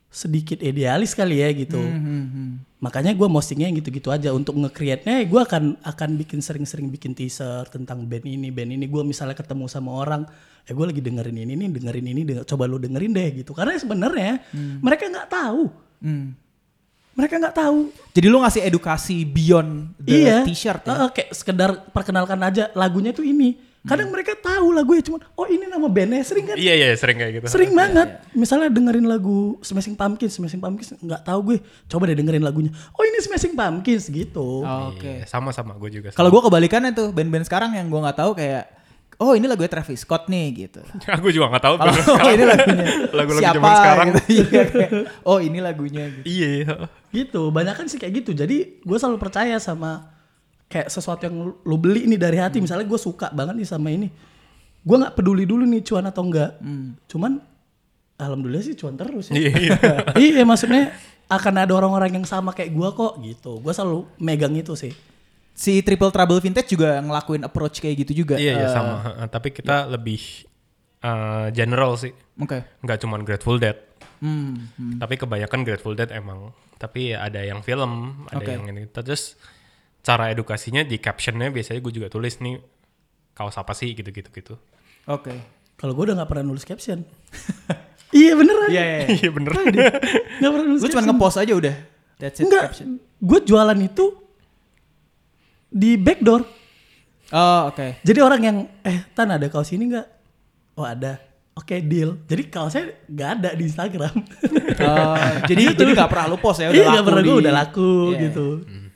sedikit idealis kali ya gitu.
Hmm.
Makanya gue postingnya yang gitu-gitu aja untuk nge-create-nya gue akan akan bikin sering-sering bikin teaser tentang band ini, band ini. Gue misalnya ketemu sama orang, eh gue lagi dengerin ini nih, dengerin ini, denger- coba lu dengerin deh gitu. Karena sebenarnya mereka nggak tahu.
Hmm.
Mereka nggak tahu.
Jadi lo ngasih edukasi beyond the
iya.
t-shirt ya?
Heeh, kayak sekedar perkenalkan aja lagunya tuh ini.
Hmm.
Kadang mereka tahu lagu ya cuman oh ini nama bandnya sering kan?
Iya iya sering kayak gitu.
Sering
ya,
banget. Misalnya dengerin lagu Smashing Pumpkins, Smashing Pumpkins nggak tahu gue. Coba deh dengerin lagunya. Oh ini Smashing Pumpkins gitu.
Oh. Oke.
Sama sama gue Iya, juga.
Kalau gue kebalikannya tuh band-band sekarang yang gue nggak tahu kayak oh ini lagunya Travis Scott nih gitu.
[laughs] aku juga nggak tahu. [laughs]
Kalau [laughs] oh, ini lagunya
Lagu-lagu
siapa
zaman sekarang.
gitu. [laughs] Iya, kayak, oh ini lagunya gitu.
[laughs] Iya. iya.
Gitu, banyak kan sih kayak gitu. Jadi gue selalu percaya sama kayak sesuatu yang lu- lu beli nih dari
Hmm.
hati. Misalnya gue suka banget nih sama ini. Gue nggak peduli dulu nih cuan atau enggak.
Hmm.
Cuman alhamdulillah sih cuan terus ya.
Iya, iya.
[laughs] iya maksudnya akan ada orang-orang yang sama kayak gue kok gitu. Gue selalu megang itu sih.
Si Triple Trouble Vintage juga ngelakuin approach kayak gitu juga.
Iya iya
Eh,
sama. Eh, Tapi kita
Iya.
lebih eh, general sih.
Oke.
Nggak cuman Grateful Dead.
Hmm, hmm.
Tapi kebanyakan Grateful Dead emang. Tapi ya ada yang film, ada
Oke.
yang ini. Terus cara edukasinya di captionnya biasanya gue juga tulis nih kaos apa sih gitu-gitu gitu.
Oke.
Kalau gue udah nggak pernah nulis
[laughs]
caption. iya beneran.
Iya iya. [laughs] iya.
Iya bener.
Nggak pernah nulis
Lu cuma
caption.
ngepost aja udah. That's it.
Enggak.
caption.
Gue jualan itu di backdoor.
Oh, oke.
Jadi orang yang eh tan ada kaos ini nggak? Oh ada. Oke deal. Jadi kaosnya nggak ada di Instagram.
Eh,
[laughs]
jadi jadi gak pernah lu [laughs] post ya udah
Iya nggak
laku
pernah gue
di-
udah laku
Iya.
gitu.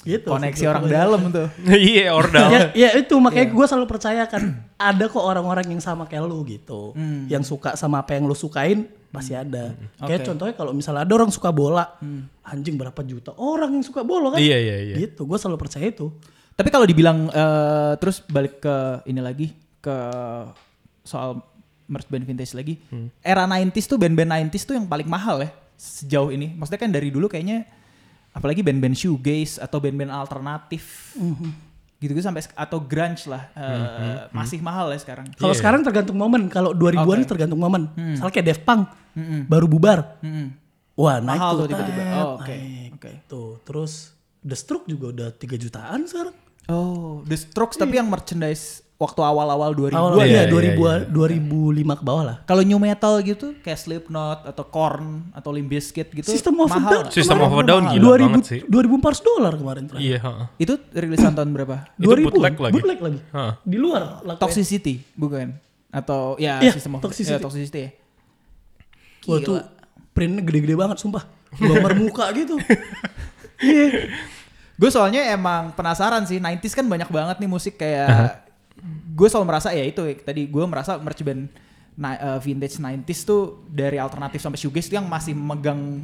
Gitu.
Koneksi
sih gua
orang Iya.
pokoknya.
dalam tuh.
[laughs] Iya ordal.
Ya, ya itu makanya gue selalu percaya kan [clears throat] ada kok orang-orang yang sama kayak lu gitu,
Hmm.
yang suka sama apa yang lu sukain pasti ada. Kayak
Oke. Hmm.
contohnya kalau misalnya ada orang suka bola, anjing berapa juta orang yang suka bola kan?
Iya iya iya.
Gitu, gue selalu percaya itu.
Tapi kalau dibilang eh, terus balik ke ini lagi ke soal merch band vintage lagi.
Hmm.
Era 90s tuh band-band 90s tuh yang paling mahal ya sejauh ini. Maksudnya kan dari dulu kayaknya apalagi band-band shoegaze atau band-band alternatif.
Mhm.
Gitu-gitu sampai sek- atau grunge lah eh,
Hmm,
masih mahal ya sekarang.
Oh. Iya.
Kalau sekarang tergantung momen, kalau 2000-an
Oke.
itu tergantung momen.
Hmm.
Misalnya kayak Def Punk baru bubar,
Mm-mm.
wah naik
Mahal tuh
tuh
tiba-tiba.
tet,
Oh, oke.
naik.
Oke.
Tuh, terus The Stroke juga udah 3 jutaan sekarang.
Oh, The Strokes tapi yang merchandise waktu awal-awal 2000
Awal
Iya,
ya,
iya,
2000 2005 ke bawah lah.
Kalau new metal gitu kayak Slipknot atau Korn atau Limp Bizkit gitu
System of a
mahal
Down.
nggak?
System of
kemarin
a Down
mahal.
gila banget sih.
2400 dolar kemarin terakhir.
Iya. heeh.
Itu rilisan tahun berapa?
Itu
2000,
bootleg lagi.
Bootleg lagi.
Hah.
Di luar lakunya.
Toxicity bukan? Atau ya
Iya,
System of
Toxicity.
ya, toxicity ya.
Wah tuh printnya gede-gede banget sumpah.
[laughs]
Gambar muka gitu. Iya.
Gue soalnya emang penasaran sih 90s kan banyak banget nih musik kayak gue selalu merasa ya itu tadi gue merasa merch band na- eh, vintage 90s tuh dari alternatif sampai shoegaze tuh yang masih megang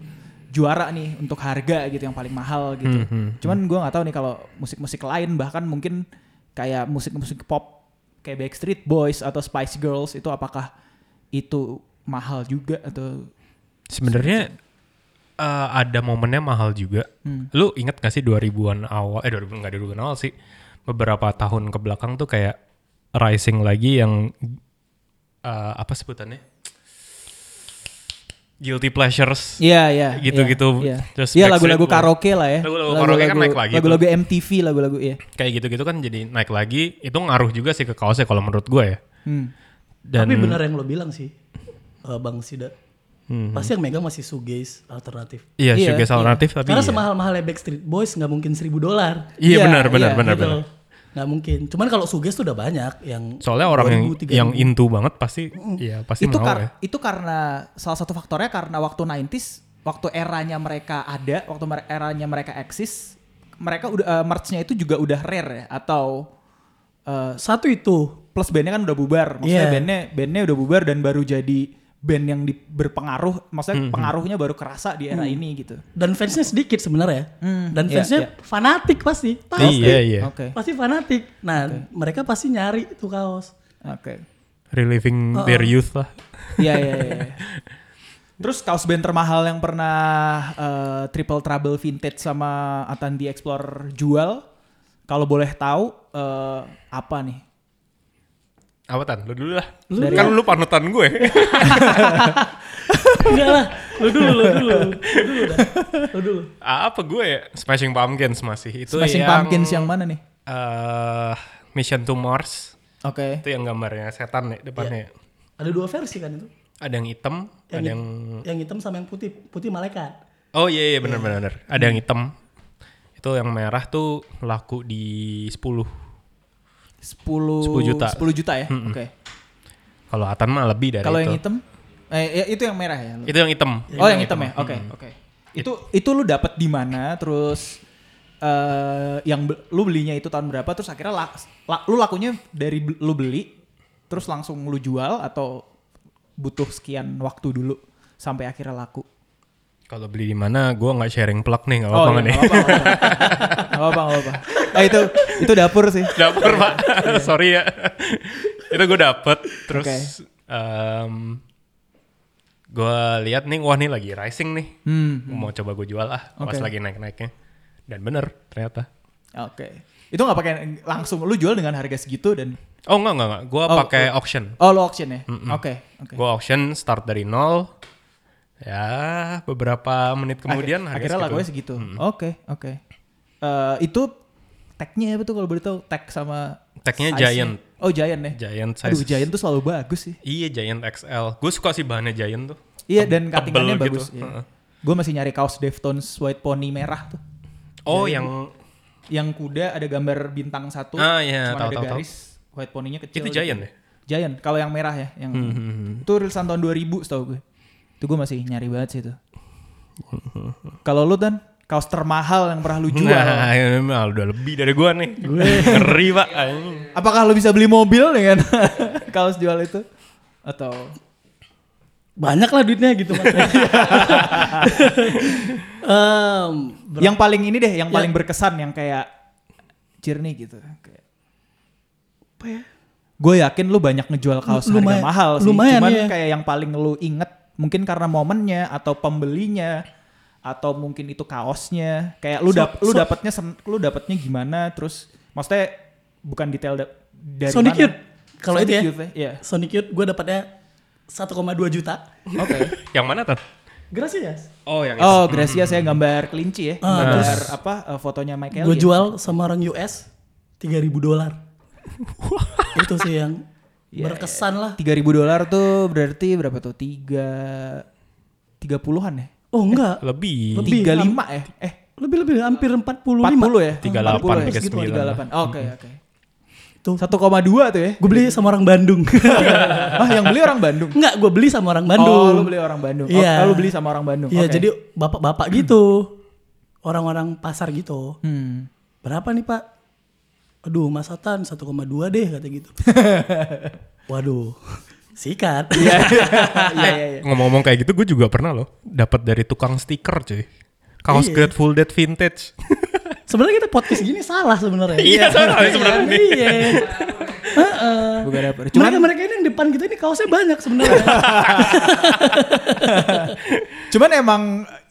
juara nih untuk harga gitu yang paling mahal gitu. Cuman gue nggak tahu nih kalau musik-musik lain bahkan mungkin kayak musik-musik pop kayak Backstreet Boys atau Spice Girls itu apakah itu mahal juga atau
Sebenarnya eh, ada momennya mahal juga.
Hmm.
Lu inget gak sih 2000-an awal, eh 2000 nggak 2000-an awal sih, beberapa tahun ke belakang tuh kayak rising lagi yang eh, apa sebutannya? Guilty pleasures.
Iya iya.
Gitu-gitu.
Iya
Terus
Iya,
Backstreet
lagu-lagu
Boys.
karaoke lah ya.
Lagu-lagu karaoke kan naik lagi tuh.
Lagu-lagu MTV lagu-lagu ya.
Kayak gitu-gitu kan jadi naik lagi, itu ngaruh juga sih ke kaosnya kalau menurut gue ya.
Hmm.
Dan
Tapi benar yang lo bilang sih, eh, Bang Sida.
Hmm.
Pasti yang megang masih shoegaze alternatif.
iya,
Iya,
shoegaze
iya.
alternatif tapi
Karena
iya.
semahal-mahalnya Backstreet Boys nggak mungkin 1000
Iya
dolar.
Iya,
benar benar
iya,
benar
Gitu.
benar.
Nggak mungkin. Cuman kalau shoegaze tuh udah banyak yang
Soalnya orang yang
2000, 3000.
yang into banget pasti ya pasti
itu
mau
kar-
ya.
itu karena salah satu faktornya karena waktu 90s waktu eranya mereka ada waktu mer- eranya mereka eksis mereka udah eh, merch-nya itu juga udah rare ya atau eh,
satu itu
plus bandnya kan udah bubar maksudnya
Iya.
bandnya bandnya udah bubar dan baru jadi band yang di- berpengaruh
Hmm,
maksudnya pengaruhnya baru kerasa di era ini gitu
dan fansnya sedikit sebenarnya dan
iya,
fansnya
iya.
fanatik pasti pasti
Iya iya.
oke
pasti fanatik nah mereka pasti nyari itu kaos
oke
Reliving
Oh,
their youth lah.
Iya iya iya. iya. [laughs] Terus kaos band termahal yang pernah eh, Triple Trouble Vintage sama Atan the Explorer jual, kalau boleh tahu eh, apa nih?
Apa tan? Lu dulu lah.
Lu ya.
kan lu panutan gue. [laughs]
enggak lah lu dulu lu dulu lu dulu dah lu dulu
Apa gue ya? Smashing Pumpkins masih. Itu
Smashing
yang,
Pumpkins ya. yang mana nih?
eh, Mission to Mars.
Oke.
Itu yang gambarnya setan ya
Iya.
depannya.
ada dua versi kan itu
Ada yang hitam, ada yang
yang hitam sama yang putih putih malaikat
Oh iya iya benar benar. benar. Ada yang hitam. Itu yang merah tuh laku di 10
10
10 juta.
10 juta ya. Oke.
Kalau Atan mah lebih dari
Kalau
itu.
yang hitam? Eh ya, itu yang merah ya. lu?
Itu yang hitam.
oh, yang hitam ya. Oke, oke. Itu itu lu dapat di mana terus eh yang be- lu belinya itu tahun berapa terus akhirnya la- la- lu lakunya dari be- lu beli terus langsung lu jual atau butuh sekian waktu dulu sampai akhirnya laku.
Kalau beli di mana, gue nggak sharing plug nih, nggak
Oh,
apa-apa
iya,
nih.
nggak apa-apa, nggak apa-apa. Nggak apa-apa. Eh, itu itu dapur sih.
[laughs] dapur
[laughs]
pak, sorry ya. itu gue dapet, terus
Iya. Oke.
gue lihat nih, wah nih lagi rising nih,
Hmm.
mau coba gue jual ah, pas
Oke.
lagi naik-naiknya. Dan bener ternyata.
Oke. Itu nggak pakai langsung lu jual dengan harga segitu dan
Oh enggak enggak, enggak. gue
Oh,
pakai auction.
oh lu auction ya. Oke, oke.
Gue auction start dari nol, ya beberapa menit kemudian
Akhir-
harga
akhirnya
segitu. Hmm.
lagunya segitu. Oke, oke. Eh, itu tag-nya apa tuh kalau boleh tahu? Tag sama
Tag-nya
size-nya.
Giant.
Oh, Giant ya.
Giant size.
Aduh, Giant tuh selalu bagus sih.
Iya Giant XL. Gue suka sih bahannya Giant tuh.
Iya, dan cuttingannya
gitu.
bagus.
Heeh.
Gue masih nyari kaos Deftones White Pony merah tuh.
Oh yang
Yang kuda ada gambar bintang satu.
Ah, iya,
cuman
tahu,
ada
tahu, tahu.
garis. White poninya kecil. gitu.
itu Giant Hmm, ya?
Giant, kalau yang merah ya, yang itu rilisan tahun 2000 setahu gue. Itu gue masih nyari banget sih itu.
Hmm,
Kalau lu dan kaos termahal yang pernah lu jual,
[laughs] Nah, ini mah udah lebih dari gua nih. [laughs] Ngeri pak. anjing.
apakah lu bisa beli mobil dengan [laughs] kaos jual itu? Atau
Banyak lah duitnya gitu
[laughs]
Mas. Em, ber- Ya.
yang paling ini deh, yang paling berkesan yang kayak Cirni gitu. Kayak.
apa ya?
Gue yakin lu banyak ngejual kaos
Lumayan-
harga mahal sih.
lumayan,
Cuman
iya.
kayak yang paling lu inget mungkin karena momennya atau pembelinya atau mungkin itu kaosnya. Kayak lu
So-
dap lu
so-
dapatnya sen- lu dapatnya gimana terus maksudnya bukan detail da- dari
Sonic
mana.
Youth. Kalau itu
Sonic
ya.
Youth
[laughs]
Iya.
Sonic Youth gue dapatnya 1,2 juta.
Oke.
Yang mana tuh?
Gracias.
Oh yang itu.
Oh, Gracia saya gambar kelinci ya.
Ah,
gambar
terus
apa eh, fotonya Michael.
Gue jual sama orang US 3000 dolar.
[laughs]
itu sih yang
Iya,
berkesan lah.
3000 dolar tuh berarti berapa tuh? 3 30-an ya?
Oh enggak.
Lebih.
Lebih.
35 ya? Eh,
Lebih-lebih hampir 40
40 ya?
38,
40 ya? Segitu, 38.
39.
Oke,
Hmm.
oke.
Tuh.
1,2 tuh ya?
Gue beli sama orang Bandung.
[laughs] ah, yang beli orang Bandung.
Enggak, gue beli sama orang Bandung.
Oh, lu beli orang Bandung. Oh,
Iya.
lu beli sama orang Bandung.
Iya,
Oke.
jadi bapak-bapak gitu. Orang-orang pasar gitu.
Hmm.
Berapa nih, Pak? Aduh, Mas Atan 1,2 deh kata gitu. Waduh. Sikat. Nah,
Iya, iya, iya.
Ngomong-ngomong kayak gitu, gue juga pernah loh dapat dari tukang stiker
Iya.
cuy. Kaos Grateful Dead vintage.
sebenarnya kita podcast gini salah sebenarnya.
Iya, salah sebenarnya.
Iya. Heeh.
Bukan apa. Cuman
Mereka mereka ini yang depan kita ini kaosnya banyak sebenarnya.
Cuman emang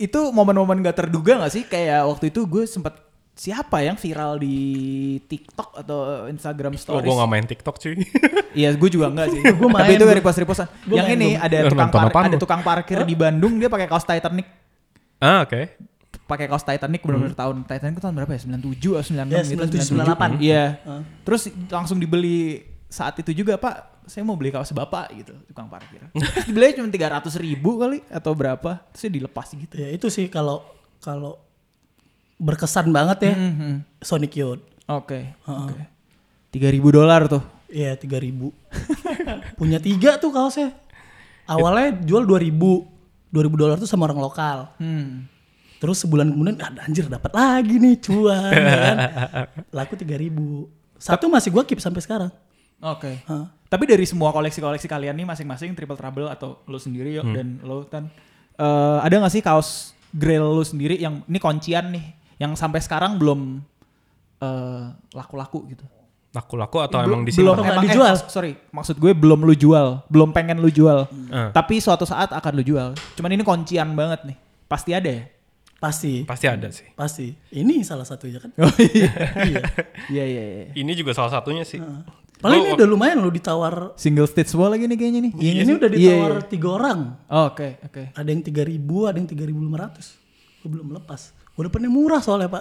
itu momen-momen gak terduga gak sih? Kayak waktu itu gue sempat siapa yang viral di TikTok atau Instagram
Oh, gue
Stories?
gak main TikTok
[laughs]
cuy.
Iya, gue juga enggak sih.
[laughs] Gua main,
Tapi itu
gua-
repost repostan.
gua
Yang
main,
ini
gua-
ada
Nonton
tukang par-
apaan
ada
lu?
tukang parkir di Bandung dia pakai kaos Titanic.
ah oke.
Pakai kaos Titanic benar-benar tahun Titanic itu tahun berapa ya? 97 atau 96
Ya,
gitu.
97, 98.
Iya.
Heeh.
Terus langsung dibeli saat itu juga, Pak. Saya mau beli kaos Bapak gitu, tukang parkir. [laughs] Terus dibeli cuma 300 ribu kali atau berapa? Terus dia dilepas gitu.
ya itu sih kalau kalau berkesan banget ya
Mhm.
Sonic Youth.
Oke.
Heeh.
Tiga ribu dolar tuh.
Iya, 3000. [laughs] Punya tiga tuh kaosnya. Awalnya jual 2000. 2000 dolar tuh sama orang lokal.
Hmm.
Terus sebulan kemudian ah, anjir dapat lagi nih cuan ya
[laughs]
kan. Laku 3000. Satu masih gua keep sampai sekarang.
Oke.
Hah.
Tapi dari semua koleksi-koleksi kalian nih masing-masing Triple Trouble atau lo sendiri yuk dan lo Tan. eh, ada gak sih kaos Grail lo sendiri yang ini kuncian nih yang sampai sekarang belum eh, laku-laku gitu.
Laku-laku atau emang di sini?
belum
Nggak
emang
dijual?
dijual. sorry, maksud gue belum lu jual, belum pengen lu jual.
Eh.
Tapi suatu saat akan lu jual. Cuman ini kuncian banget nih. Pasti ada ya?
Pasti.
Pasti ada sih.
Pasti. Ini salah satunya kan.
Oh iya. Iya iya iya.
Ini juga salah satunya sih.
Oh,
Gua-
Paling ini udah lumayan lo ditawar.
Single stage wall lagi nih kayaknya nih.
Yang ini udah
Iya,
ditawar
iya.
tiga orang.
Oh, Oke, oke.
Ada yang 3000, ada yang 3500. Gue belum lepas. Gue dapetnya murah soalnya, Pak.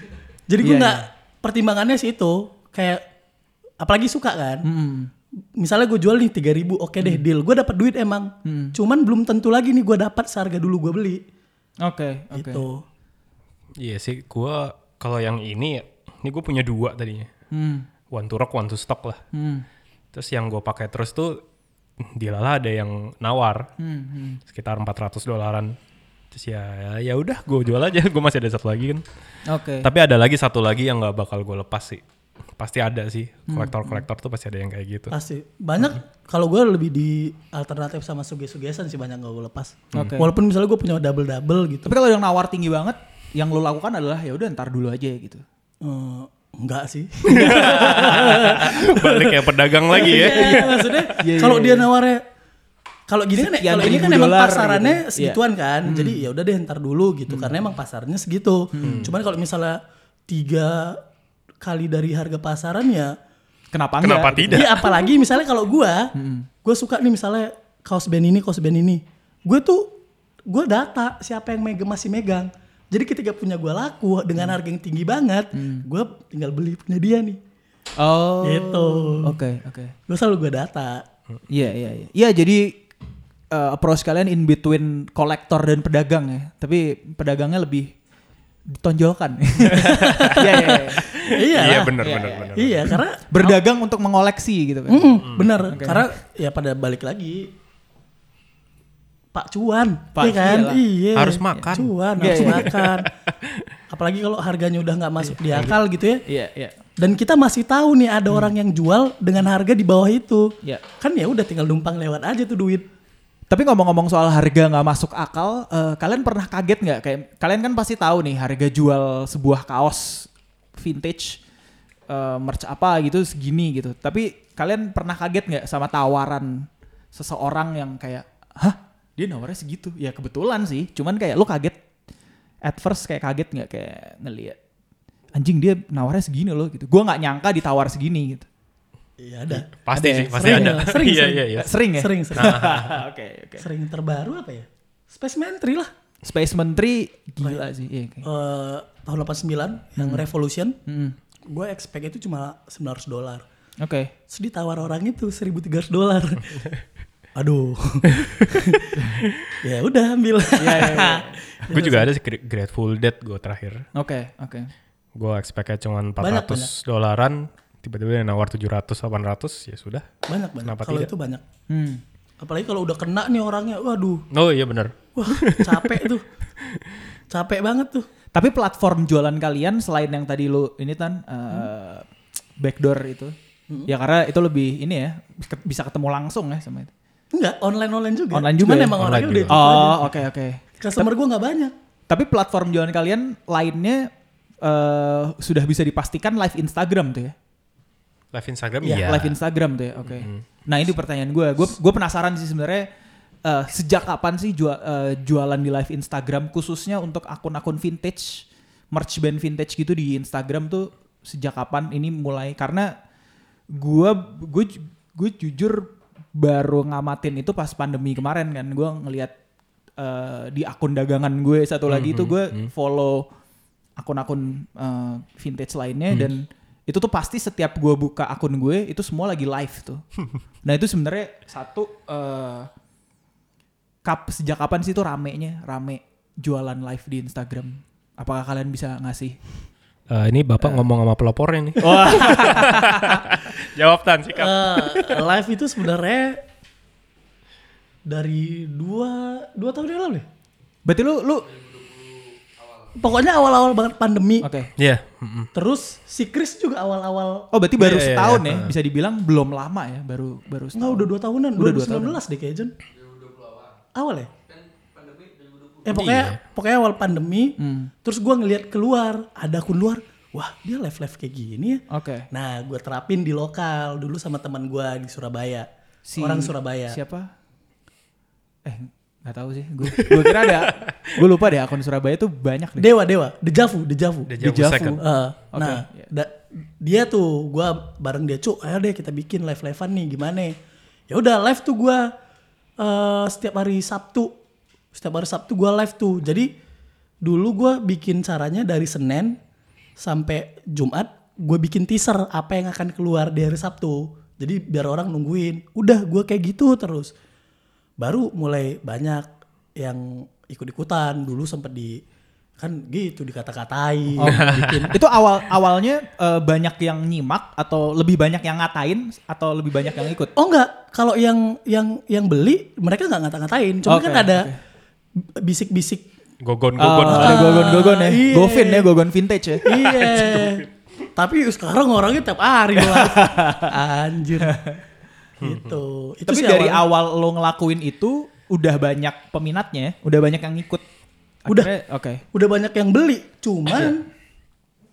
[laughs] Jadi gue
Iya,
nggak pertimbangannya sih itu kayak apalagi suka kan.
Hmm,
Misalnya gue jual nih 3000, oke deh deal. Gue dapat duit emang.
Hmm.
Cuman belum tentu lagi nih gue dapat seharga dulu gue beli.
Oke, oke.
Gitu.
Iya sih, gue kalau yang ini ya, ini gue punya dua tadinya.
Hmm.
one to rock one to stock lah terus yang gue pakai terus tuh di Lala ada yang nawar
hmm,
sekitar 400 dolaran terus ya ya udah gue jual aja gue masih ada satu lagi kan
Oke.
tapi ada lagi satu lagi yang nggak bakal gue lepas sih pasti ada sih
Hmm.
kolektor-kolektor tuh pasti ada yang kayak gitu
Pasti. Banyak kalau gue lebih di alternatif sama suge-sugesan sih banyak gak gue lepas.
Oke.
Walaupun misalnya gue punya double-double gitu.
Hmm. Tapi kalau yang nawar tinggi banget, yang lo lakukan adalah ya udah ntar dulu aja gitu.
Eh, enggak sih.
[laughs] balik kayak pedagang lagi ya
[laughs] Iya, maksudnya kalau dia nawarnya kalau gini kan
iya. Sekian
kalau ini kan
ribu
emang
dolar gitu.
pasarannya
Hmm.
segituan kan. Jadi ya udah deh ntar dulu gitu karena emang pasarnya segitu. Cuman kalau misalnya tiga kali dari harga pasaran ya
Kenapa enggak?
kenapa tidak
Iya apalagi misalnya kalau gua, gua suka nih misalnya kaos band ini, kaos band ini. Gue tuh gue data siapa yang mega masih megang. Jadi ketika punya gua laku dengan harga yang tinggi banget, gua tinggal beli punya dia nih.
Oh.
Gitu.
Oke, oke.
Gue selalu gua data.
Iya, iya, iya. Iya, jadi eh, approach kalian in between kolektor dan pedagang ya. Tapi pedagangnya lebih ditonjolkan. [laughs] Iya, iya, iya.
iya.
iya
lah.
benar
Iya,
benar
iya.
benar
Iya karena
Berdagang untuk mengoleksi gitu kan.
mm, benar karena ya pada balik lagi Pak Cuan,
Pak,
iya kan?
iyalah.
Iya.
Harus makan.
Cuan,
Iya,
harus
iya.
makan. Apalagi kalau harganya udah nggak masuk di akal gitu ya.
Iya, iya.
Dan kita masih tahu nih
Hmm.
ada orang yang jual dengan harga di bawah itu.
Iya.
Kan ya udah tinggal numpang lewat aja tuh duit.
Tapi ngomong-ngomong soal harga nggak masuk akal, eh, kalian pernah kaget nggak? Kayak kalian kan pasti tahu nih harga jual sebuah kaos vintage eh, merch apa gitu segini gitu. Tapi kalian pernah kaget nggak sama tawaran seseorang yang kayak, hah dia nawarnya segitu? Ya kebetulan sih, cuman kayak lu kaget. At first kayak kaget nggak kayak ngeliat anjing dia nawarnya segini loh gitu. Gua nggak nyangka ditawar segini gitu.
Iya ada.
pasti
Ada
sih
ya?
pasti
Sering
ada
ya? Sering,
iya
sering.
iya Nah. iya
Eh, Sering ya?
Sering, sering.
[laughs] Oke oke.
[laughs] Sering terbaru apa ya? Space Mentry lah.
Space Menteri gila sih. Iya,
Hmm.
kayak-
Eh, tahun 89 yang Revolution.
Mm-mm.
Gue expect itu cuma 900 dolar.
Oke.
Terus ditawar orang itu 1300
[laughs]
dolar. Aduh. ya udah ambil.
Iya, gue juga ada sih Gr- Grateful Dead gue terakhir
Oke, oke.
gue expectnya cuman
Banyak,
400 dolaran tiba-tiba yang nawar 700 800 ya sudah
[laughs] Banyak banyak.
Kenapa
Kalau
tidak?
itu banyak.
Hmm.
Apalagi kalau udah kena nih orangnya. Waduh.
oh iya benar
Wah, capek tuh. Capek banget tuh.
Tapi platform jualan kalian selain yang tadi lu ini tan eh,
Hmm.
backdoor itu. Ya karena itu lebih ini ya ke- bisa ketemu langsung ya sama itu.
Enggak, online-online juga.
Online juga ya?
Cuman emang
Online
orangnya udah
juga.
itu aja.
Oh, oke oke.
Customer gue nggak banyak.
Tapi platform jualan kalian lainnya eh sudah bisa dipastikan live Instagram tuh ya.
live Instagram
Iya,
iya
Live Instagram tuh ya. Oke. Nah, ini pertanyaan gue. Gue gue penasaran sih sebenarnya eh, sejak kapan sih jua- eh, jualan di live Instagram khususnya untuk akun-akun vintage, merch band vintage gitu di Instagram tuh sejak kapan ini mulai karena gue gue gue jujur baru ngamatin itu pas pandemi kemarin kan. Gue ngelihat eh, di akun dagangan gue satu lagi itu gue follow akun-akun eh, vintage lainnya
Hmm.
dan itu tuh pasti setiap gue buka akun gue itu semua lagi live
[laughs]
tuh. nah itu sebenarnya satu eh, kap sejak kapan sih itu ramenya rame jualan live di Instagram? Apakah kalian bisa ngasih?
Eh, ini bapak ngomong sama pelopornya nih [laughs] jawab tan sikap
Oh. Eh, live itu sebenarnya dari dua dua tahun yang lalu deh.
Berarti lu lu
Pokoknya awal-awal banget pandemi.
oke.
iya mm-mm.
Terus si Chris juga awal-awal
Oh berarti baru
Iya, iya,
setahun
iya.
ya bisa dibilang belum lama ya baru baru
nggak
setahun.
udah dua tahunan,
Udah
udah
dua
2019 deh kayaknya. Jon. Awal ya? Eh pokoknya pokoknya awal pandemi. Terus gua ngelihat keluar ada akun luar. Wah dia live live kayak gini ya.
Oke.
Nah gue terapin di lokal dulu sama teman gua di Surabaya.
Si-
Orang Surabaya.
Siapa? Eh nggak tahu sih. Gue gue kira
[laughs]
ada. gue lupa deh akun Surabaya tuh banyak deh.
Dewa Dewa, Dejavu, Dejavu.
Deja Vu
Deja Vu.
second.
Eh,
Kan? Oke,
Nah,
iya.
da- dia tuh gua bareng dia cuk, ayo deh kita bikin live livean nih gimana? Ya udah live tuh gua eh, setiap hari Sabtu, setiap hari Sabtu gua live tuh. Jadi dulu gua bikin caranya dari Senin sampai Jumat, gue bikin teaser apa yang akan keluar di hari Sabtu. Jadi biar orang nungguin. Udah gua kayak gitu terus. Baru mulai banyak yang ikut ikutan. Dulu sempet di Kan gitu dikata-katain.
Oh, bikin. [laughs] Itu awal awalnya eh, banyak yang nyimak atau lebih banyak yang ngatain atau lebih banyak yang ikut.
Oh enggak, kalau yang yang yang beli mereka nggak ngata-ngatain. Cuma
Oke,
kan ada
[laughs]
bisik-bisik. Oh,
Gogon-gogon.
Ah, ada gogon-gogon ya.
iya.
Govin ya, gogon vintage ya.
Iya. Tapi sekarang orangnya tiap hari lah.
[laughs]
Anjir. Gitu. Itu
Hmm, Tapi
sih
dari
awal.
awal lo ngelakuin itu udah banyak peminatnya, ya? udah banyak yang ngikut.
Udah.
Akhirnya, Oke.
udah banyak yang beli,
Iya.
cuman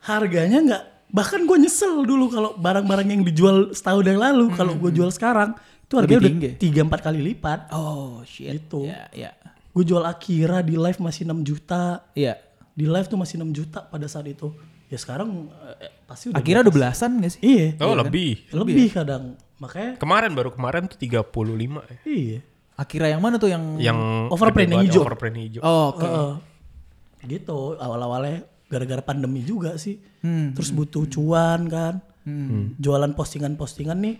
harganya nggak bahkan gue nyesel dulu kalau barang-barang yang dijual setahun yang lalu kalau gue jual sekarang itu harganya
Hmm, Lebih
udah
tinggi.
tiga empat kali lipat
Oh shit.
Gitu.
Ya, ya.
gue jual Akira di live masih 6 juta
Iya.
di live tuh masih 6 juta pada saat itu ya sekarang eh, eh, pasti udah
Akhirnya udah iya. belasan gak sih?
iya
Oh lebih.
lebih kadang makanya
Kemarin baru kemarin tuh 35 ya.
iya
Akira yang mana tuh yang
Yang
Hmm.
gede
Overprint yang
banget,
hijau.
Overprint hijau.
Oh, oke.
Heeh. gitu awal-awalnya gara-gara pandemi juga sih
Hmm,
terus butuh cuan kan jualan postingan-postingan nih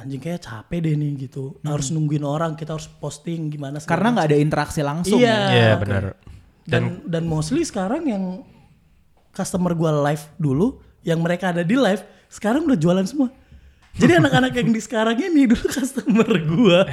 anjing kayak capek deh nih gitu harus nungguin orang kita harus posting gimana
Hmm. Karena nggak ada interaksi langsung.
Iya.
ya?
Iya
oke.
benar.
dan dan mostly sekarang yang customer gua live dulu yang mereka ada di live sekarang udah jualan semua jadi
[laughs]
anak-anak yang di sekarang ini dulu customer gua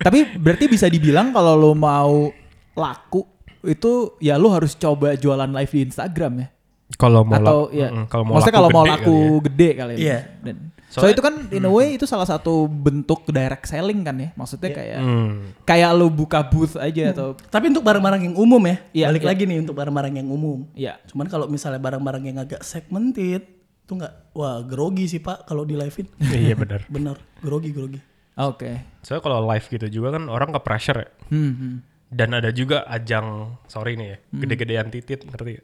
Tapi berarti bisa dibilang kalau lo mau laku itu ya lo harus coba jualan live di Instagram ya.
Kalau mau
Atau
laku-
ya.
Mm-mm, kalau mau
maksudnya
laku
kalau mau
gede
laku
kali ya.
gede kali ya.
Iya.
Dan, so,
Soalnya-
itu kan in a way itu salah satu bentuk direct selling kan ya.
Iya.
Maksudnya kayak
Hmm.
kayak lo buka booth aja atau
tapi untuk barang-barang yang umum ya
Iya,
balik
iya.
lagi nih untuk barang-barang yang umum
ya.
Cuman kalau misalnya barang-barang yang agak segmented itu nggak wah grogi sih Pak kalau di
[laughs]
live-in.
Iya benar.
Bener, grogi grogi.
Oke.
Soalnya kalau live gitu juga kan orang ke pressure ya.
Hmm, hmm.
Dan ada juga ajang sorry nih ya, gede-gedean titit ngerti ya?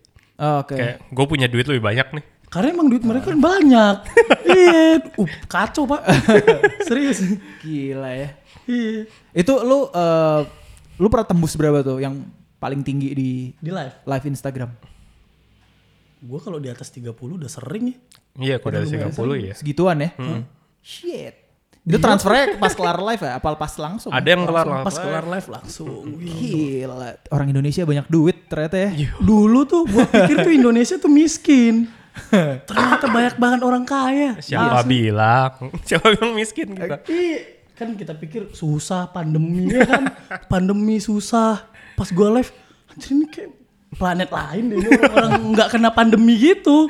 Oke.
Kayak gue punya duit lebih banyak nih.
Karena emang duit mereka kan banyak.
[laughs]
Iya, uh, kacau Pak. [laughs] Serius.
Gila ya.
Iya,
Itu lo eh, lo pernah tembus berapa tuh yang paling tinggi di
di live.
live Instagram?
Gua kalau di atas 30 udah sering ya.
Iya, kalau dari 30 ya.
Segituan ya? Shit.
Iya.
Itu transfernya pas kelar live ya? Apa pas langsung?
Ada yang kelar lah.
Pas kelar live
[laughs]
langsung. Wih.
Gila. Orang Indonesia banyak duit ternyata ya.
Iya. Dulu tuh gua pikir tuh Indonesia tuh
[laughs]
miskin. Ternyata banyak banget orang
Iya
kaya.
Siapa bilang? [laughs] Siapa bilang miskin
Eh.
gitu? kita?
Iya, kan kita pikir susah pandemi ya kan. pandemi susah. Pas gue live, anjir ini kayak planet lain deh ini orang-orang nggak kena pandemi gitu.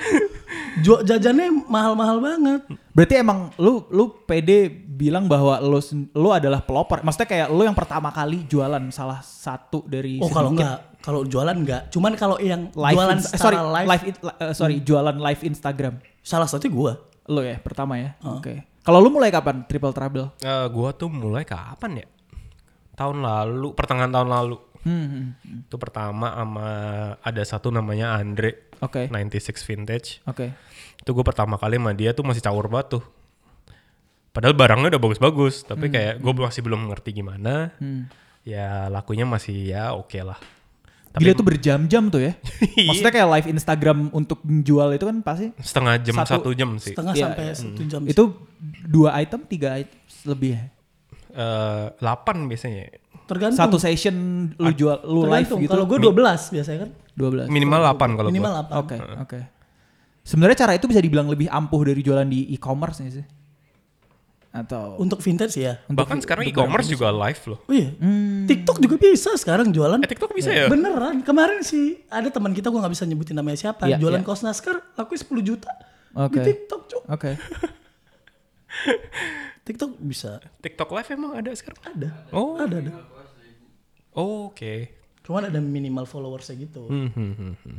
Jual jajannya mahal-mahal banget.
Berarti emang lu lu pede bilang bahwa lu sen- lu adalah pelopor. Maksudnya kayak lu yang pertama kali jualan salah satu dari
Oh
Iya,
kalau
sedikit
nggak, kalau jualan nggak. Cuman kalau yang
live
jualan
ins- eh,
secara
sorry,
live, Hmm.
live, in- li- eh, sorry, jualan live Instagram.
salah satu gue.
Lu ya pertama ya. Oke. Kalau lu mulai kapan Triple Trouble?
Eh, gua tuh mulai kapan ya? Tahun lalu, pertengahan tahun lalu.
Hmm, hmm.
Itu pertama sama ada satu namanya Andre.
Oke.
Nah,
96 Vintage.
Oke.
Itu gue pertama kali sama dia tuh masih caur banget tuh. Padahal barangnya udah bagus-bagus,
Hmm.
tapi kayak gue masih belum ngerti gimana. Ya lakunya masih ya oke lah.
Gila itu berjam-jam
[laughs]
tuh ya. Maksudnya kayak live Instagram untuk menjual itu kan pasti
Setengah jam,
Satu-
satu jam sih.
Setengah
Iya,
sampai
iya.
satu jam.
itu dua item tiga item lebih ya.
Eh, 8 biasanya.
tergantung.
Satu session lu jual lu live
tergantung.
gitu.
Kalau gue 12 biasanya kan.
12. Oke,
Minimal 8 kalau
Minimal
gua.
8.
oke. Sebenarnya cara itu bisa dibilang lebih ampuh dari jualan di e-commerce nih sih. Atau
Untuk vintage ya.
Bahkan sekarang e-commerce juga live loh.
Oh iya.
Hmm.
TikTok juga bisa sekarang jualan.
Eh, TikTok
Iya.
bisa ya?
Beneran. Kemarin sih ada teman kita gua nggak bisa nyebutin namanya siapa,
Iya,
jualan
iya.
kaos Naskar laku 10 juta.
Oke.
Di TikTok, Cuk.
Oke.
TikTok bisa.
TikTok live emang ada sekarang?
Ada.
Oh,
Ada, ada.
oh, oke.
Cuman ada minimal followersnya gitu.
Hmm, hmm, hmm, hmm.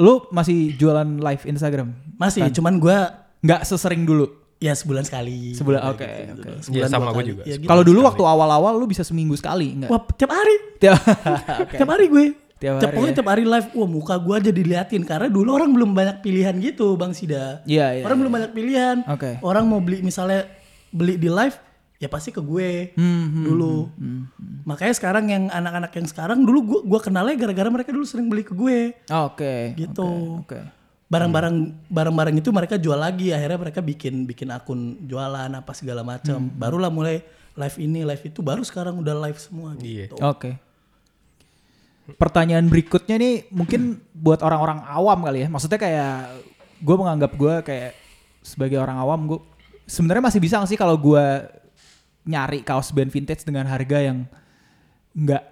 Lu masih jualan live Instagram?
Masih,
Kan.
cuman gua
Nggak sesering dulu.
ya sebulan sekali.
Sebulan,
Kayak
oke,
gitu.
oke.
Sebulan
Iya, sama
dua
gua
kali.
juga.
Ya, gitu.
Kalau dulu waktu awal-awal lu bisa seminggu sekali enggak?
Wah, tiap hari.
Tiap [laughs]
Tiap hari gue.
Tiap hari
pokoknya
ya.
tiap hari live, wah muka gue aja diliatin karena dulu orang belum banyak pilihan gitu, Bang Sida.
Iya, iya,
Orang belum banyak pilihan.
Oke.
Orang mau beli misalnya beli di live ya pasti ke gue
Hmm,
dulu. Makanya sekarang yang anak-anak yang sekarang dulu gue gua kenalnya gara-gara mereka dulu sering beli ke gue.
Ya, Oke.
Gitu.
Oke. oke.
Barang-barang barang-barang itu mereka jual lagi, akhirnya mereka bikin bikin akun jualan apa segala macam.
Hmm, Iya. Oh,
Barulah mulai live ini, live itu baru sekarang udah live semua gitu.
Iya.
Oke. Pertanyaan berikutnya nih mungkin buat orang-orang awam kali ya. Maksudnya kayak gue menganggap gue kayak sebagai orang awam gue sebenarnya masih bisa gak sih kalau gue nyari kaos band vintage dengan harga yang nggak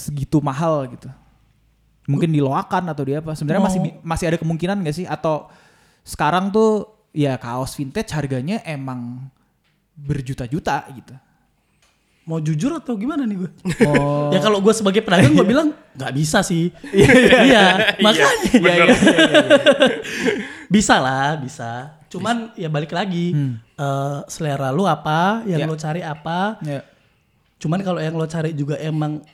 segitu mahal gitu. Mungkin diloakan atau di apa. Sebenarnya masih bi- masih ada kemungkinan gak sih atau sekarang tuh ya kaos vintage harganya emang berjuta-juta gitu.
Mau jujur atau gimana nih gue?
Oh.
ya kalau gue sebagai pedagang gue bilang nggak bisa sih. iya, makanya. bisa lah, bisa. Cuman ya balik lagi eh, selera lu apa, yang
Hmm. Ya.
lu cari apa.
Ya.
Cuman kalau yang lo cari juga emang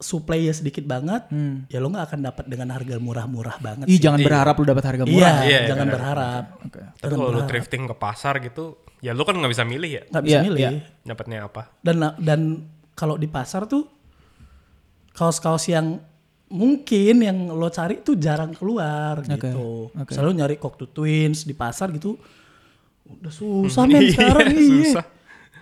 supply-nya sedikit banget,
Hmm.
ya lo nggak akan dapat dengan harga murah-murah banget.
Ih
sih.
jangan berharap lu dapat harga
Iya,
murah.
Iya, iya,
jangan
benar.
berharap.
Oke.
Tapi
Jangan
kalau lu
berharap.
thrifting ke pasar gitu, ya lu kan nggak bisa milih ya
nggak bisa
Iya,
milih.
iya.
dapatnya apa.
Dan dan kalau di pasar tuh kaos-kaos yang mungkin yang lo cari tuh jarang keluar gitu.
oke.
Selalu nyari Cocteau Twins di pasar gitu udah susah men sekarang
[laughs] Iya,
iya.
susah.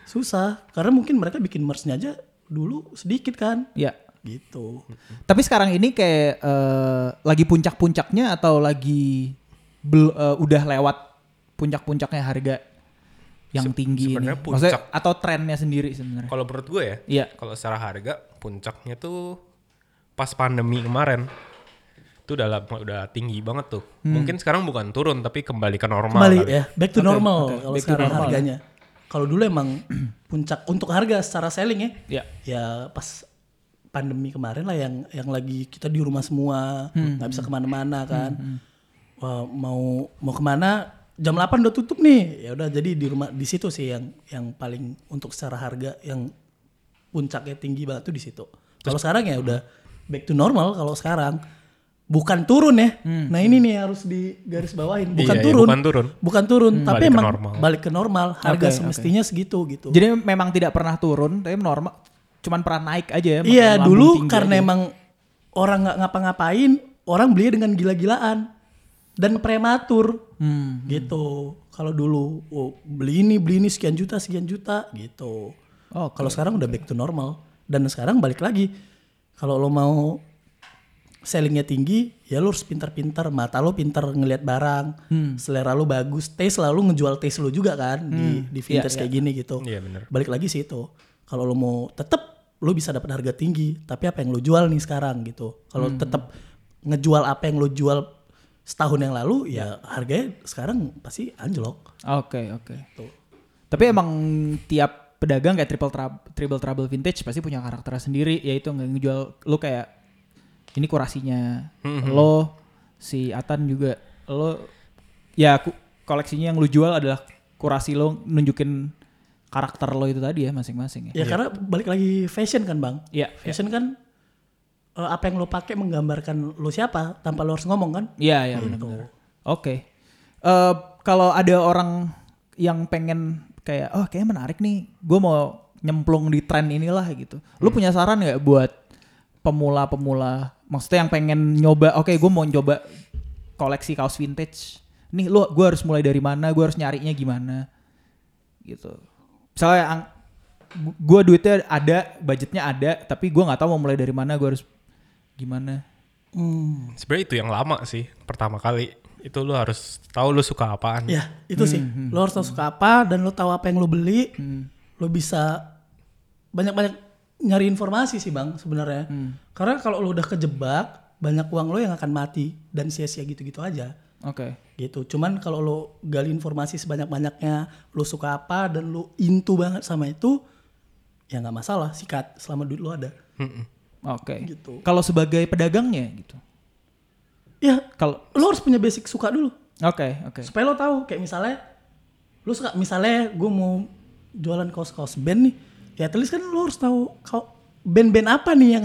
Susah. Karena mungkin mereka bikin merch-nya aja dulu sedikit kan.
Iya.
Gitu.
Tapi sekarang ini kayak eh, lagi puncak-puncaknya atau lagi bel- eh, udah lewat puncak-puncaknya harga yang tinggi ini.
sebenarnya
Maksudnya
puncak.
atau trennya sendiri sebenarnya.
Kalau menurut gue ya,
Iya.
kalau secara harga puncaknya tuh pas pandemi kemarin itu udah lama- udah tinggi banget tuh. Mungkin sekarang bukan turun tapi kembali ke normal.
Hmm. kembali
kali.
ya back to normal kalau
back to
sekarang
normal.
harganya kalau dulu emang [clears throat] puncak untuk harga secara selling ya
Iya.
ya pas pandemi kemarin lah yang yang lagi kita di rumah semua
Hmm,
nggak bisa kemana-mana kan Wah, mau mau kemana jam 8 udah tutup nih ya udah jadi di rumah di situ sih yang yang paling untuk secara harga yang puncaknya tinggi banget tuh di situ kalau sekarang ya udah back to normal kalau sekarang bukan turun ya
Hmm,
nah ini nih harus digaris bawahin bukan
Iya, iya,
turun
bukan turun. Hmm.
bukan turun tapi
Balik ke
emang
normal.
balik ke normal harga
Oke,
semestinya segitu gitu
Jadi memang tidak pernah turun, tapi normal cuman pernah naik aja ya. makin
iya
lambung
dulu
tinggi
karena
aja.
emang orang nggak ngapa-ngapain orang beli dengan gila-gilaan dan prematur
Hmm.
gitu kalau dulu oh, beli ini beli ini sekian juta sekian juta gitu
Oke.
kalau sekarang udah back to normal dan sekarang balik lagi kalau lo mau sellingnya tinggi ya lo harus pintar-pintar mata lo pintar ngelihat barang selera lo bagus taste lah lo ngejual taste lo juga kan di di vintage kayak gini gitu
Iya, bener.
balik lagi sih itu kalau lo mau tetap lo bisa dapat harga tinggi tapi apa yang lo jual nih sekarang gitu kalau tetap ngejual apa yang lo jual setahun yang lalu ya harganya sekarang pasti anjlok
Oke, oke. Tapi emang tiap pedagang kayak triple trou- triple trouble vintage pasti punya karakternya sendiri yaitu ngejual lu kayak ini kurasinya lo si Atan juga lo ya ku- koleksinya yang lu jual adalah kurasi lo nunjukin karakter lo itu tadi ya masing-masing ya.
ya karena balik lagi fashion kan bang
Iya. Iya,
fashion kan eh, apa yang lo pakai menggambarkan lo siapa tanpa lo harus ngomong kan
iya, iya, benar-benar. Oke. Eh, kalau ada orang yang pengen kayak oh kayaknya menarik nih, gue mau nyemplung di tren inilah gitu. Lu punya saran nggak buat pemula-pemula? Maksudnya yang pengen nyoba, oke gue mau nyoba koleksi kaos vintage. Nih lu gue harus mulai dari mana? Gue harus nyarinya gimana? Gitu. Misalnya ang- gue duitnya ada, budgetnya ada, tapi gue nggak tahu mau mulai dari mana. Gue harus gimana?
Sebenarnya itu yang lama sih pertama kali. Itu lu harus tahu lu suka apaan.
ya itu sih lo harus tahu suka apa dan lo tahu apa yang lo beli lo bisa banyak-banyak nyari informasi sih bang sebenarnya karena kalau lo udah kejebak banyak uang lo yang akan mati dan sia-sia gitu-gitu aja
Oke.
gitu cuman kalau lo gali informasi sebanyak-banyaknya lo suka apa dan lo into banget sama itu ya nggak masalah sikat selama duit lo ada
Oke.
Gitu.
Kalau sebagai pedagangnya gitu.
ya
Kalau
lo harus punya basic suka dulu
oke oke.
supaya lo tahu kayak misalnya lo suka misalnya gue mau jualan kaos kaos band nih ya at least kan lo harus tahu kau band-band apa nih yang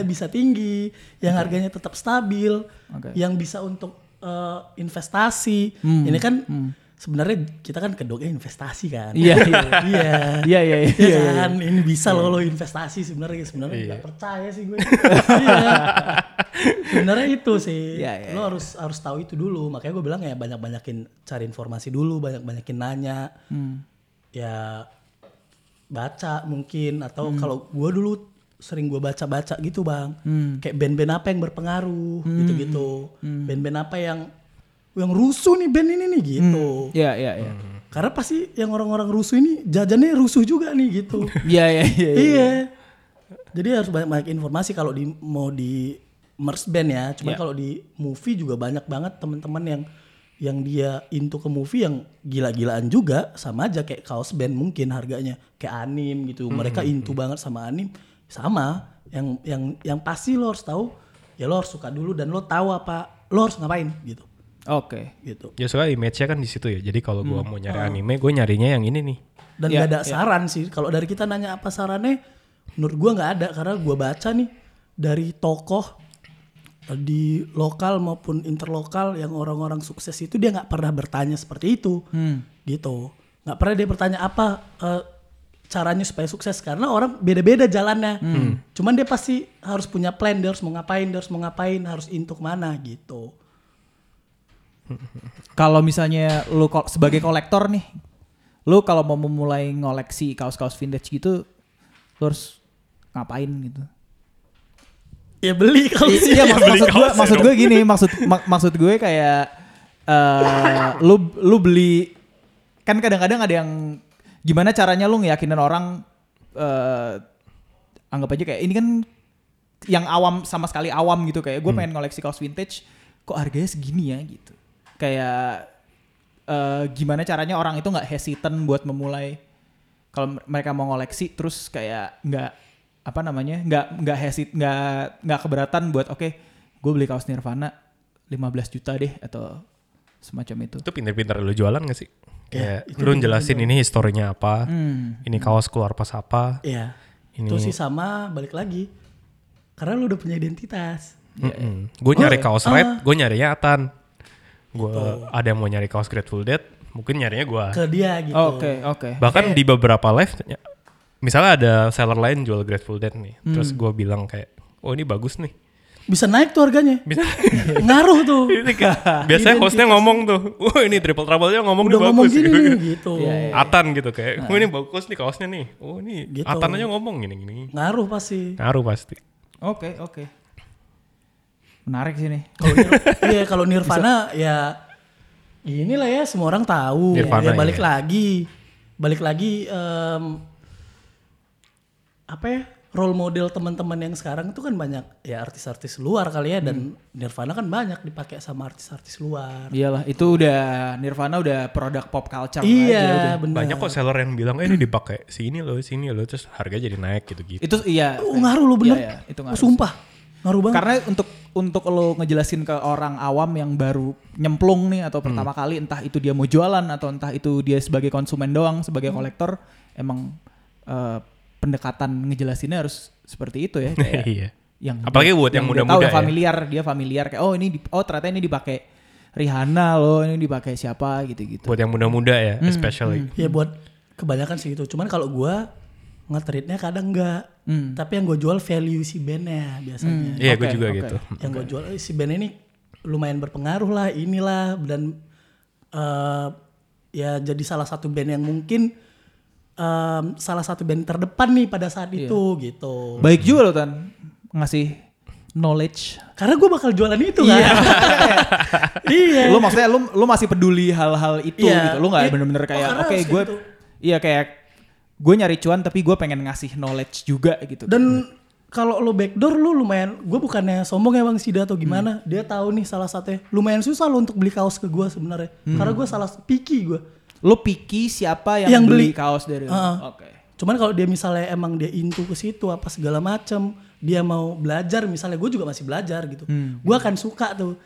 Iya, iya.
bisa tinggi yang harganya tetap stabil
Oke. Hmm,
yang bisa untuk eh, investasi ini kan sebenarnya kita kan kedoknya investasi kan
Iya, iya.
[laughs] iya
Iya, iya, iya,
Iya
iya,
kan? ini bisa lo lo investasi sebenarnya sebenarnya nggak percaya sih gue [laughs] iya sebenarnya itu sih
Iya, iya,
lo harus harus tahu itu dulu makanya gue bilang ya banyak banyakin cari informasi dulu banyak banyakin nanya ya baca mungkin atau kalau gue dulu sering gue baca-baca gitu bang kayak band-band apa yang berpengaruh gitu-gitu band-band apa yang yang rusuh nih band ini nih gitu
Iya, iya, iya.
karena pasti yang orang-orang rusuh ini jajannya rusuh juga nih gitu
Iya, iya, iya. iya.
iya jadi harus banyak-banyak informasi kalau di mau di merch band ya cuman
Iya.
kalau di movie juga banyak banget teman-teman yang yang dia into ke movie yang gila-gilaan juga sama aja kayak kaos band mungkin harganya kayak anim gitu mereka into banget sama anim sama yang yang yang pasti lo harus tahu ya lo harus suka dulu dan lo tahu apa lo harus ngapain gitu
Oke.
gitu
Ya soalnya image-nya kan di situ ya. Jadi kalau
Hmm.
gua mau
Oh.
nyari anime, gue nyarinya yang ini nih.
dan
Iya,
gak ada saran sih kalau dari kita nanya apa sarannya menurut gua nggak ada karena gua baca nih dari tokoh eh, di lokal maupun interlokal yang orang-orang sukses itu dia nggak pernah bertanya seperti itu gitu nggak pernah dia bertanya apa eh, caranya supaya sukses karena orang beda-beda jalannya
Hmm.
cuman dia pasti harus punya plan dia harus mau ngapain dia harus mau ngapain harus intuk mana gitu
Kalau misalnya lu ko- sebagai kolektor nih, lu kalau mau memulai ngoleksi kaos-kaos vintage gitu, lu harus ngapain gitu?
ya beli kalau
I-
sih [laughs]
iya mak- maksud gue maksud gue gini maksud mak- maksud gue kayak eh lu lu beli kan kadang-kadang ada yang gimana caranya lu ngeyakinin orang eh anggap aja kayak ini kan yang awam sama sekali awam gitu kayak gue
Hmm.
pengen koleksi kaos vintage kok harganya segini ya gitu kayak eh gimana caranya orang itu nggak hesitant buat memulai kalau mer- mereka mau ngoleksi terus kayak nggak apa namanya nggak nggak hesit nggak nggak keberatan buat oke gue beli kaos Nirvana 15 juta deh atau semacam itu
Itu pinter-pinter lu jualan gak sih?
Iya,
Kayak lu jelasin ini historinya apa,
Hmm.
ini kaos keluar pas apa.
Iya.
Ini-
Itu sih sama balik lagi. Karena lu udah punya identitas.
Gue
Oh,
nyari
iya.
kaos
Ah.
red, gue nyarinya Atan. Gue ada yang mau nyari kaos Grateful Dead, mungkin nyarinya gua.
Ke dia gitu.
oke oke
Bahkan di beberapa live, ya, misalnya ada seller lain jual Grateful Dead nih, terus
Hmm.
gua bilang kayak, oh ini bagus
[laughs]
nih.
Bisa naik tuh harganya.
Bisa.
Ngaruh tuh.
Biasanya hostnya ngomong tuh, [laughs] wah ini Triple Trouble nya ngomong
udah
nih
ngomong
bagus. [laughs]
gini
gitu.
nih gitu.
Atan gitu kayak, oh ini bagus nih kaosnya nih. Oh ini
Gitu. Nah.
Atan aja ngomong gini-gini.
Ngaruh pasti.
Ngaruh pasti.
oke oke menarik sih nih
Kalau Nir-
[laughs]
Iya, kalau Nirvana ya inilah ya semua orang tahu.
Nirvana,
ya, balik
iya.
lagi. Balik lagi em, apa ya? Role model teman-teman yang sekarang itu kan banyak ya artis-artis luar kali ya
Hmm.
dan Nirvana kan banyak dipakai sama artis-artis luar.
iyalah itu udah Nirvana udah produk pop culture aja udah.
Iya, benar.
Banyak kok seller yang bilang, eh ini dipakai sini loh, sini loh, terus harga jadi naik gitu-gitu.
itu iya
Oh, ngaruh lo bener. Oh,
Iya, iya, itu ngaruh.
Sumpah. Ngaruh banget.
Karena untuk untuk lo ngejelasin ke orang awam yang baru nyemplung nih
Hmm.
atau pertama kali entah itu dia mau jualan atau entah itu dia sebagai konsumen doang
Hmm.
sebagai kolektor emang eh, pendekatan ngejelasinnya harus seperti itu ya kayak
[laughs] Iya.
yang
Apalagi buat
dia
yang
tahu,
muda-muda ya.
familiar dia familiar kayak oh ini di- oh ternyata ini dipakai Rihanna loh ini dipakai siapa gitu-gitu.
Buat yang muda-muda ya,
Hmm,
especially.
Ya buat kebanyakan sih gitu. Cuman kalau gua nge-treatnya kadang enggak.
Hmm.
Tapi yang gue jual value si bandnya biasanya.
Iya, gue
Oke,
juga
oke.
gitu.
Yang gue jual eh, si band ini lumayan berpengaruh lah inilah dan eh, ya jadi salah satu band yang mungkin em, salah satu band terdepan nih pada saat itu gitu.
Baik juga lo Tan ngasih knowledge. Iya.
Karena gue bakal jualan itu kan.
[laughs]
[laughs] iya.
Lu maksudnya lu lu masih peduli hal-hal itu
Iya.
gitu. Lu nggak
Iya.
bener-bener
Oh,
kayak
karena
oke
harus
gue
gitu."
iya kayak gue nyari cuan tapi gue pengen ngasih knowledge juga gitu.
Dan kalau lo backdoor lu lumayan, gue bukannya sombong ya Bang Sida atau gimana, dia tahu nih salah satunya. Lumayan susah lo untuk beli kaos ke gue sebenarnya, karena gue salah picky gue.
lu picky siapa yang,
Yang
beli.
beli.
kaos dari lu.
Heeh.
Oke.
Cuman kalau dia misalnya emang dia into ke situ apa segala macem, dia mau belajar misalnya gue juga masih belajar gitu,
Hmm.
gue akan suka tuh,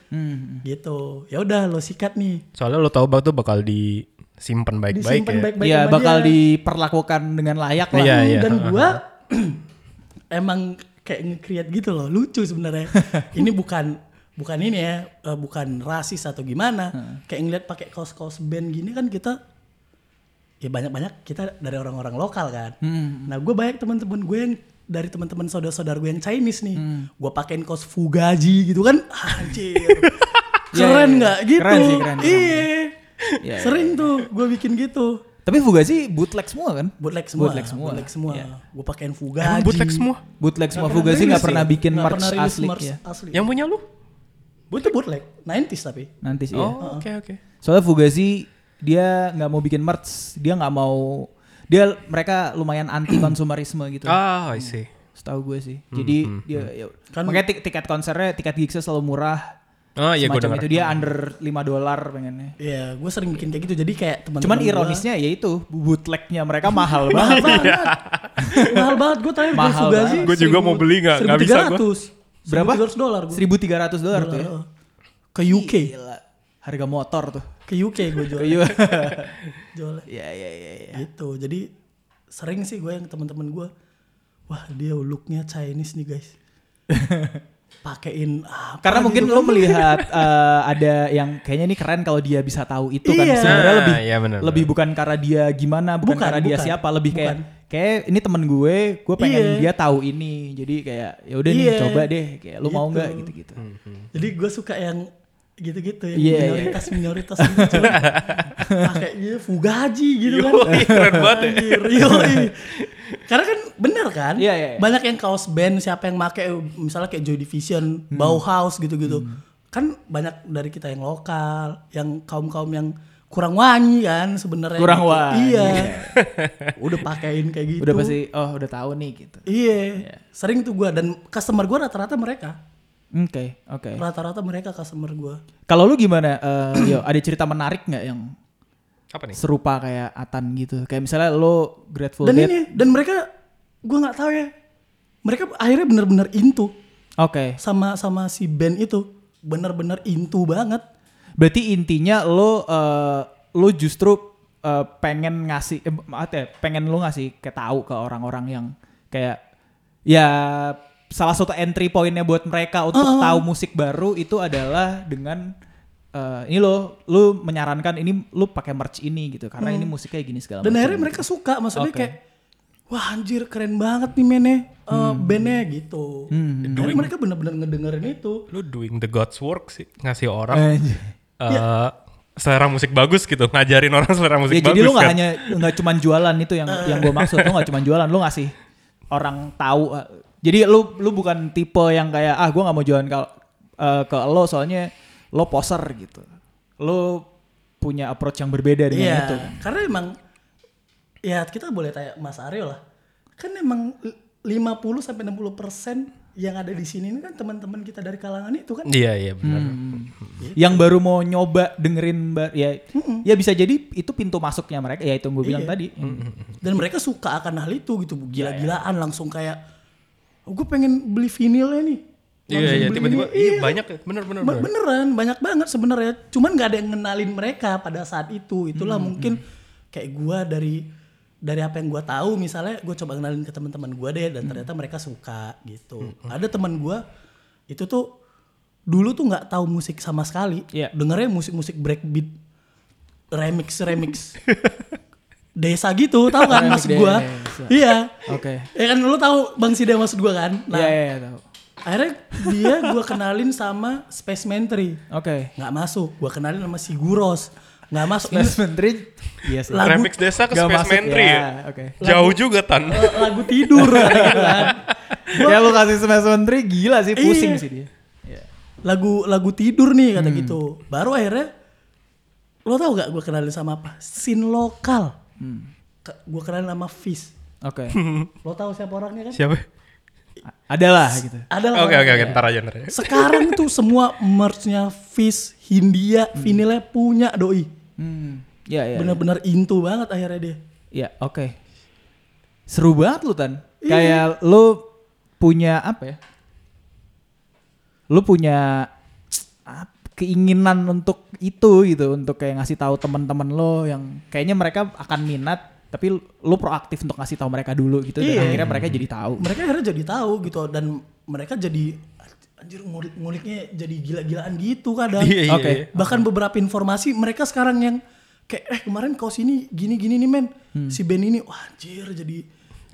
gitu. Ya udah lo sikat nih,
Soalnya lo tau banget tuh bakal disimpan baik-baik
disimpan
ya.
baik-baik
Iya
sama
bakal
dia.
diperlakukan dengan layak lah.
Iya,
Hmm,
iya.
Dan gua [clears throat] emang kayak nge-create gitu loh, lucu sebenarnya. ini bukan bukan ini ya, eh, bukan rasis atau gimana. Kayak ngeliat pakai kaos-kaos band gini kan kita ya banyak-banyak kita dari orang-orang lokal kan. Nah, gue banyak teman-teman gue yang dari teman-teman saudara-saudara gue yang Chinese nih, gue pakein kaos Fugazi gitu kan, [laughs] anjir.
Iya, iya,
keren
iya.
nggak gitu?
Keren sih, keren, keren.
Iya.
Iya,
Sering tuh gue bikin gitu.
Tapi Fugazi bootleg semua kan?
bootleg semua
Bootleg semua. Iya.
bootleg semua gue pakein fugazi
Emang bootleg semua?
Bootleg semua Fugazi nggak pernah bikin
kan? ya? Nggak
merch
pernah rilis
asli
merch
ya.
asli. Iya.
Yang punya lu?
itu bootleg 90s tapi
Nanti sih. ya.
Oh, oke oke.
Soalnya Fugazi dia nggak mau bikin merch, dia nggak mau dia mereka lumayan anti
[clears throat]
konsumerisme gitu.
Ah, I see.
Setahu gue
Hmm,
sih. Jadi dia ya,
Kan-
makanya tik- tiket konsernya, tiket gigsnya selalu murah.
Ah, iya gue
semacam
dengar.
itu dia under 5 dolar pengennya.
ya gue sering bikin kayak gitu jadi kayak teman
Cuman
[laughs]
ironisnya ya itu bootlegnya mereka mahal banget.
banget mahal banget gue terakhir beli
Mahal
fugazi
banget.
Gua juga mau beli, nggak- nggak bisa gua.
1300.
Berapa?
1300 dolar oh. gue
1300 dolar tuh ya.
ke UK
Gila. Harga motor tuh.
ke UK gue jual
Iya.
jual
Iya iya iya. iya.
gitu jadi sering sih gue yang teman-teman gue wah dia looknya Chinese nih guys
[laughs]
pakein apa
Karena
gitu
mungkin
kan.
lo melihat eh, ada yang kayaknya ini keren kalau dia bisa tahu itu kan
Iya.
sebenarnya
Nah,
lebih
iya bener,
lebih bukan karena dia gimana, bukan,
Bukan,
karena dia
bukan.
siapa, lebih kayak
Bukan.
kayak ini temen gue, gue pengen
Iya.
dia tahu ini. Jadi kayak ya udah nih
Iya.
coba deh, kayak lo mau
Gitu.
nggak gitu-gitu.
Hmm.
jadi gue suka yang gitu-gitu yang
Iya, iya.
minoritas minoritas gitu
[laughs]
cuman pakai iya, fugazi gitu kan
Yoi, keren banget ya.
Anjir, yoi. karena kan bener kan
Iya, iya, iya.
banyak yang kaos band siapa yang make misalnya kayak Joy Division
Hmm.
Bauhaus gitu-gitu kan banyak dari kita yang lokal yang kaum kaum yang kurang wangi kan sebenarnya
Kurang
gitu.
wangi.
iya [laughs] udah pakein kayak gitu
Udah pasti oh udah tahu nih gitu.
iya sering tuh gue dan customer gue rata-rata mereka
Oke, oke.
rata-rata mereka customer gue
Nah, Kalau lu gimana? Eh, yo, ada cerita menarik nggak yang
Apa nih?
serupa kayak Atan gitu? Kayak misalnya lo Grateful
dan
Dead.
ini dan mereka gue nggak tahu ya mereka akhirnya bener-bener into
Oke.
sama sama si band itu bener-bener into banget
Berarti intinya lo eh, lo justru eh, pengen ngasih eh, maaf ya, pengen lo ngasih kayak tahu ke orang-orang yang kayak ya salah satu entry pointnya buat mereka untuk
Ah,
tahu musik baru itu adalah dengan eh, ini lo lo menyarankan ini lo pakai merch ini gitu karena ini musiknya gini segala
Hmm. dan
macam.
akhirnya mereka suka
Oke.
maksudnya kayak wah anjir keren banget nih mene eh,
Hmm.
bandnya gitu Jadi mereka bener-bener ngedengerin itu
Lu doing the God's work sih, ngasih orang
Anjir.
eh, selera musik bagus gitu, ngajarin orang [laughs] selera
iya.
musik
Ya,
bagus.
jadi lu nggak
kan.
hanya nggak cuman jualan itu yang
Eh.
yang gue maksud lu nggak cuman jualan lu ngasih orang tahu eh, jadi lu lu bukan tipe yang kayak ah gue nggak mau jualan kalau eh, ke lo soalnya lo poser gitu lu punya approach yang berbeda dengan
iya
itu
karena emang ya kita boleh tanya Mas Aryo lah kan emang l- 50 sampai 60 yang ada di sini ini kan teman-teman kita dari kalangan itu kan
Iya, iya
Hmm,
benar.
Gitu.
yang baru mau nyoba dengerin ba- ya ya bisa jadi itu pintu masuknya mereka ya itu yang gue bilang
Iya.
tadi Hmm.
dan mereka suka akan hal itu gitu gila-gilaan langsung kayak gue pengen beli vinilnya nih
Iya, iya, tiba-tiba iya banyak ya, bener bener.
Ba-
bener.
beneran banyak banget sebenarnya cuman nggak ada yang ngenalin mereka pada saat itu itulah
Hmm,
mungkin kayak gua dari dari apa yang gua tahu misalnya gue coba kenalin ke teman-teman gua deh
Hmm.
dan ternyata mereka suka gitu ada teman gua itu tuh dulu tuh nggak tahu musik sama sekali
Iya.
dengernya musik-musik breakbeat remix remix [laughs] desa gitu tahu kan
Remix
maksud gua
desa.
iya
oke
ya kan lu tahu bang Sida maksud gua kan
Iya, iya iya, tahu
akhirnya dia gue kenalin sama Space Mentry
oke
nggak masuk gue kenalin sama si Guros nggak masuk ini
Mas
[laughs]
Menteri iya sih
Lah, lagu-
Remix desa ke
Nggak
Space
masuk,
Mentry
ya,
ya.
oke.
[laughs] Jauh juga
[laughs]
tan.
eh, lagu tidur kata gitu kan.
ya lu kasih Mas Menteri gila sih pusing
Iya.
sih dia Iya.
lagu lagu tidur
Hmm.
nih kata gitu baru akhirnya lo tau gak gue kenalin sama apa sin lokal
Hmm.
gue kenalin sama Fis
Oke.
lo tau siapa orangnya kan
Siapa?
Adalah gitu.
ada lah
Oke oke
orangnya.
oke, ntar aja ntar aja.
sekarang tuh semua merchnya Fis
Hmm.
Hindia vinilnya punya doi
Hmm. Ya
Iya.
ya.
bener-bener into banget akhirnya dia
Ya, oke. Seru banget lu Tan. Kayak lu punya apa ya? Lu punya ap- keinginan untuk itu gitu, untuk kayak ngasih tahu teman-teman lo yang kayaknya mereka akan minat tapi lu proaktif untuk ngasih tahu mereka dulu gitu dan
Iya.
akhirnya mereka jadi tahu.
mereka akhirnya jadi tahu gitu dan mereka jadi anjir ngulik nguliknya jadi gila-gilaan gitu kadang
Iya iya.
Oke.
iya.
bahkan beberapa informasi mereka sekarang yang kayak eh kemarin kau sini gini-gini nih men si Ben ini wah anjir jadi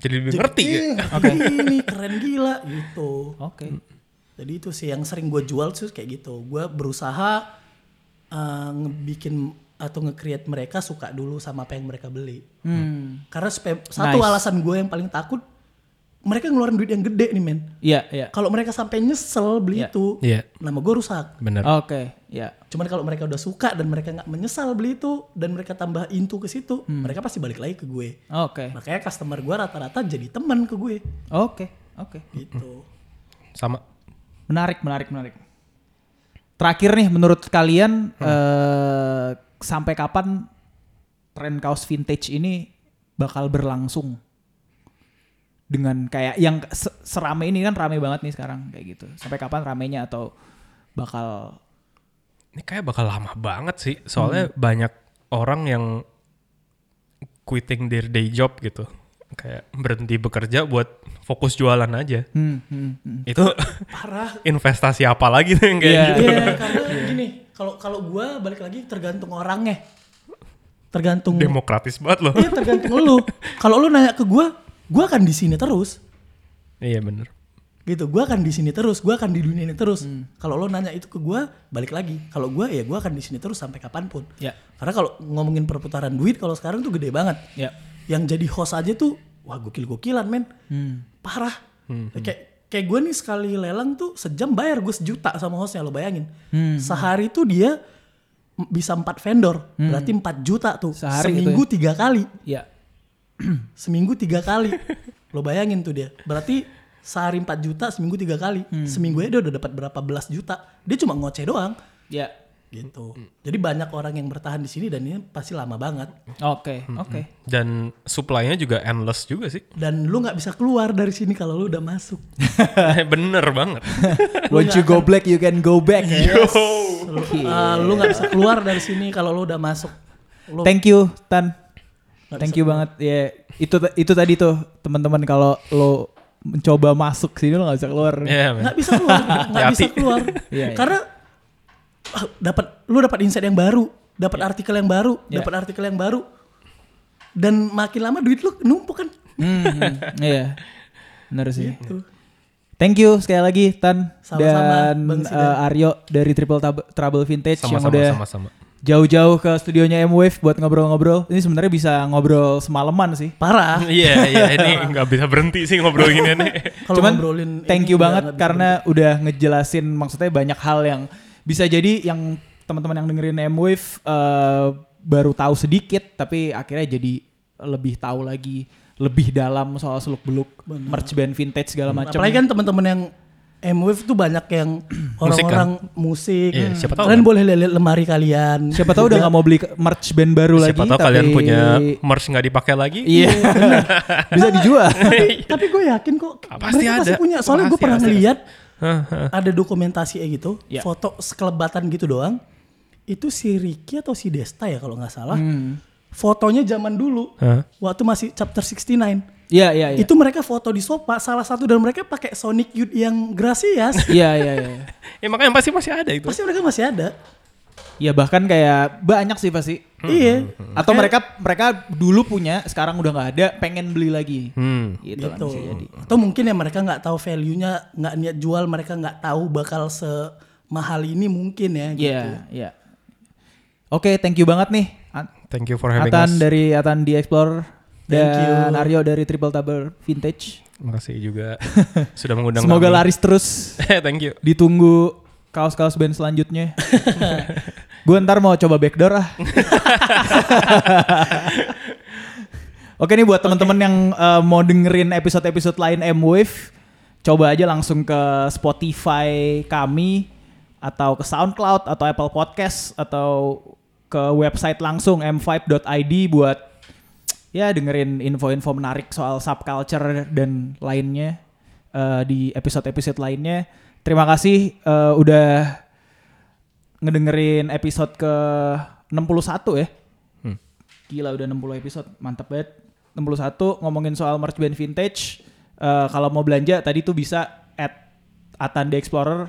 Jadi lebih
jadi-
Hmm. ngerti ya.
eh,
iya.
ngerti [laughs] ini keren gila gitu
Oke.
jadi itu sih yang sering gue jual tuh kayak gitu gue berusaha eh, ngebikin atau nge-create mereka suka dulu sama apa yang mereka beli.
Hmm.
Karena spe- satu
Nice.
alasan gue yang paling takut mereka ngeluarin duit yang gede nih men.
Iya, iya.
Kalau mereka sampai nyesel beli
Iya.
itu,
Iya.
nama gue rusak.
Bener.
Oke, iya.
Cuman kalau mereka udah suka dan mereka nggak menyesal beli itu dan mereka tambah into ke situ, mereka pasti balik lagi ke gue.
Oke.
Makanya customer gue rata-rata jadi teman ke gue
Oke, oke.
gitu.
Sama.
Menarik, menarik, menarik. Terakhir nih menurut kalian eh, sampai kapan tren kaos vintage ini bakal berlangsung? Dengan kayak yang se- serame ini kan rame banget nih sekarang kayak gitu. Sampai kapan ramenya atau bakal
Ini kayak bakal lama banget sih. Soalnya banyak orang yang quitting their day job gitu. Kayak berhenti bekerja buat fokus jualan aja.
hmm, hmm, hmm.
Itu [laughs]
Parah
investasi apa lagi tuh yang kayak
Iya.
gitu.
Iya, karena gini, kalau kalau gua balik lagi tergantung orangnya. Tergantung
Demokratis banget loh.
Iya, tergantung lu. Kalau lu nanya ke gua, gua akan di sini terus.
[laughs] iya bener.
Gitu, gua akan di sini terus, gua akan di dunia ini terus. Kalau lu nanya itu ke gua, balik lagi. Kalau gua ya gua akan di sini terus sampai kapanpun.
Ya.
Karena kalau ngomongin perputaran duit kalau sekarang tuh gede banget.
Ya.
Yang jadi host aja tuh wah gokil-gokilan, men.
Hmm.
Parah. Kayak kayak gua nih sekali lelang tuh sejam bayar gue sejuta sama hostnya lo bayangin.
Hmm.
Sehari tuh dia m- bisa empat vendor, berarti 4 juta tuh.
Hmm. Sehari gitu
Seminggu tiga kali.
Ya.
Seminggu tiga kali. lo bayangin tuh dia. Berarti sehari 4 juta, seminggu tiga kali.
Hmm.
Seminggu aja dia udah dapat berapa belas juta. Dia cuma ngoceh doang
Ya.
gitu. Jadi banyak orang yang bertahan di sini dan ini pasti lama banget.
Oke, oke.
Dan supply-nya juga endless juga sih. [laughs]
Dan lu nggak bisa keluar dari sini kalau lu udah masuk.
bener banget.
hmm. Once you go black you can go back.
Lu- eh, lu nggak bisa keluar dari sini kalau lu udah masuk. Lu
Thank you Tan. Thank you banget. Ya, itu itu tadi tuh teman-teman kalau lo mencoba masuk sini lo nggak bisa keluar.
Iya bener.
nggak bisa keluar, nggak bisa
Hati-hati.
keluar.
[laughs] Iya, iya.
Karena ah, dapat lu dapat insight yang baru, dapat artikel yang baru,
Iya.
dapat artikel yang baru. Dan makin lama duit lu numpuk kan.
Hmm, hmm, iya. Benar sih.
Gitu.
Thank you sekali lagi Tan
Sama-sama,
dan
Bang Sidan.
eh, Aryo dari Triple Tab- Trouble Vintage yang
Sama-sama,
udah
sama-sama.
jauh-jauh ke studionya M Wave buat ngobrol-ngobrol. Ini sebenarnya bisa ngobrol semalaman sih.
Parah.
Iya, iya. Ini nggak bisa berhenti sih ngobrol gini nih.
Kalau
Cuman
ngobrolin
thank
ini
you
udah
banget
nggak bisa
karena udah ngejelasin maksudnya banyak hal yang bisa jadi yang teman-teman yang dengerin M Wave eh, baru tahu sedikit tapi akhirnya jadi lebih tahu lagi lebih dalam soal seluk beluk merch band vintage segala macam.
Apalagi kan teman-teman yang M-Wave tuh banyak
[clears throat]
yang orang-orang
kan?
musik. Hmm.
Iya, siapa tahu
kalian
kan?
boleh lihat lemari kalian.
Siapa tahu udah nggak mau beli ke- merch band baru lagi.
Siapa tahu
tapi-
kalian punya merch nggak dipakai lagi?
Iya. bisa
[laughs]
dijual.
tapi, tapi gue yakin kok
Iya. Ah, pasti
mereka pasti
ada.
punya. Soalnya gue
Pasti
pernah
ada.
ngeliat
Hah, hah. Ya.
ada dokumentasi kayak gitu,
Iya.
foto sekelebatan gitu doang. Itu si Ricky atau si Desta ya kalau nggak salah. Fotonya zaman dulu,
Hmm. Hah?
waktu masih chapter 69.
Iya iya iya.
Itu mereka foto di sofa, salah satu dan mereka pakai Sonic Youth yang
[laughs]
Gracias.
Iya iya iya.
Ya makanya pasti masih ada itu.
pasti mereka masih ada.
Ya bahkan kayak banyak sih pasti.
Hmm,
Iya.
Atau mereka mereka dulu punya sekarang udah nggak ada pengen beli lagi.
Hmm.
Gitu, kan
gitu.
bisa jadi.
Atau mungkin ya mereka nggak tahu value-nya, nggak niat jual, mereka nggak tahu bakal semahal ini mungkin ya.
Iya,
Gitu.
iya. Oke, thank you banget nih At-
Thank you for having
Atan
us.
dari Atan di Explorer
Thank you.
dan Aryo dari Triple Double Vintage.
Makasih
[laughs]
juga sudah mengundang
Semoga
kami.
laris terus.
Eh, [laughs] Thank you.
Ditunggu kaos-kaos band
[laughs]
selanjutnya. Gue ntar mau coba backdoor ah. Oke nih buat teman-teman yang eh, mau dengerin episode-episode lain M Wave, coba aja langsung ke Spotify kami atau ke SoundCloud atau Apple Podcast atau ke website langsung m5.id buat ya dengerin info-info menarik soal subculture dan lainnya eh, di episode-episode lainnya. Terima kasih eh, udah ngedengerin episode ke 61 ya. Gila udah 60 episode, mantap banget. 61 ngomongin soal merch band vintage. Eh, kalau mau belanja tadi tuh bisa at Atan The Explorer.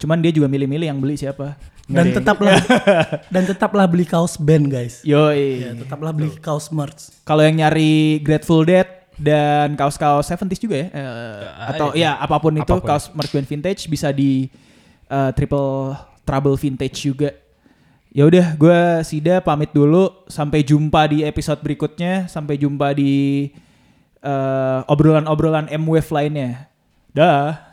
Cuman dia juga milih-milih yang beli siapa.
Dan tetaplah dan tetaplah beli kaos band guys.
Yoi.
Ya, tetaplah beli kaos merch.
Kalau yang nyari Grateful Dead dan kaos-kaos 70s juga ya. eh, atau ya apapun itu
Apapun.
kaos merch band vintage bisa di eh, Triple Trouble Vintage juga. Ya udah, gue Sida pamit dulu. Sampai jumpa di episode berikutnya. Sampai jumpa di eh, obrolan-obrolan M Wave lainnya. Dah.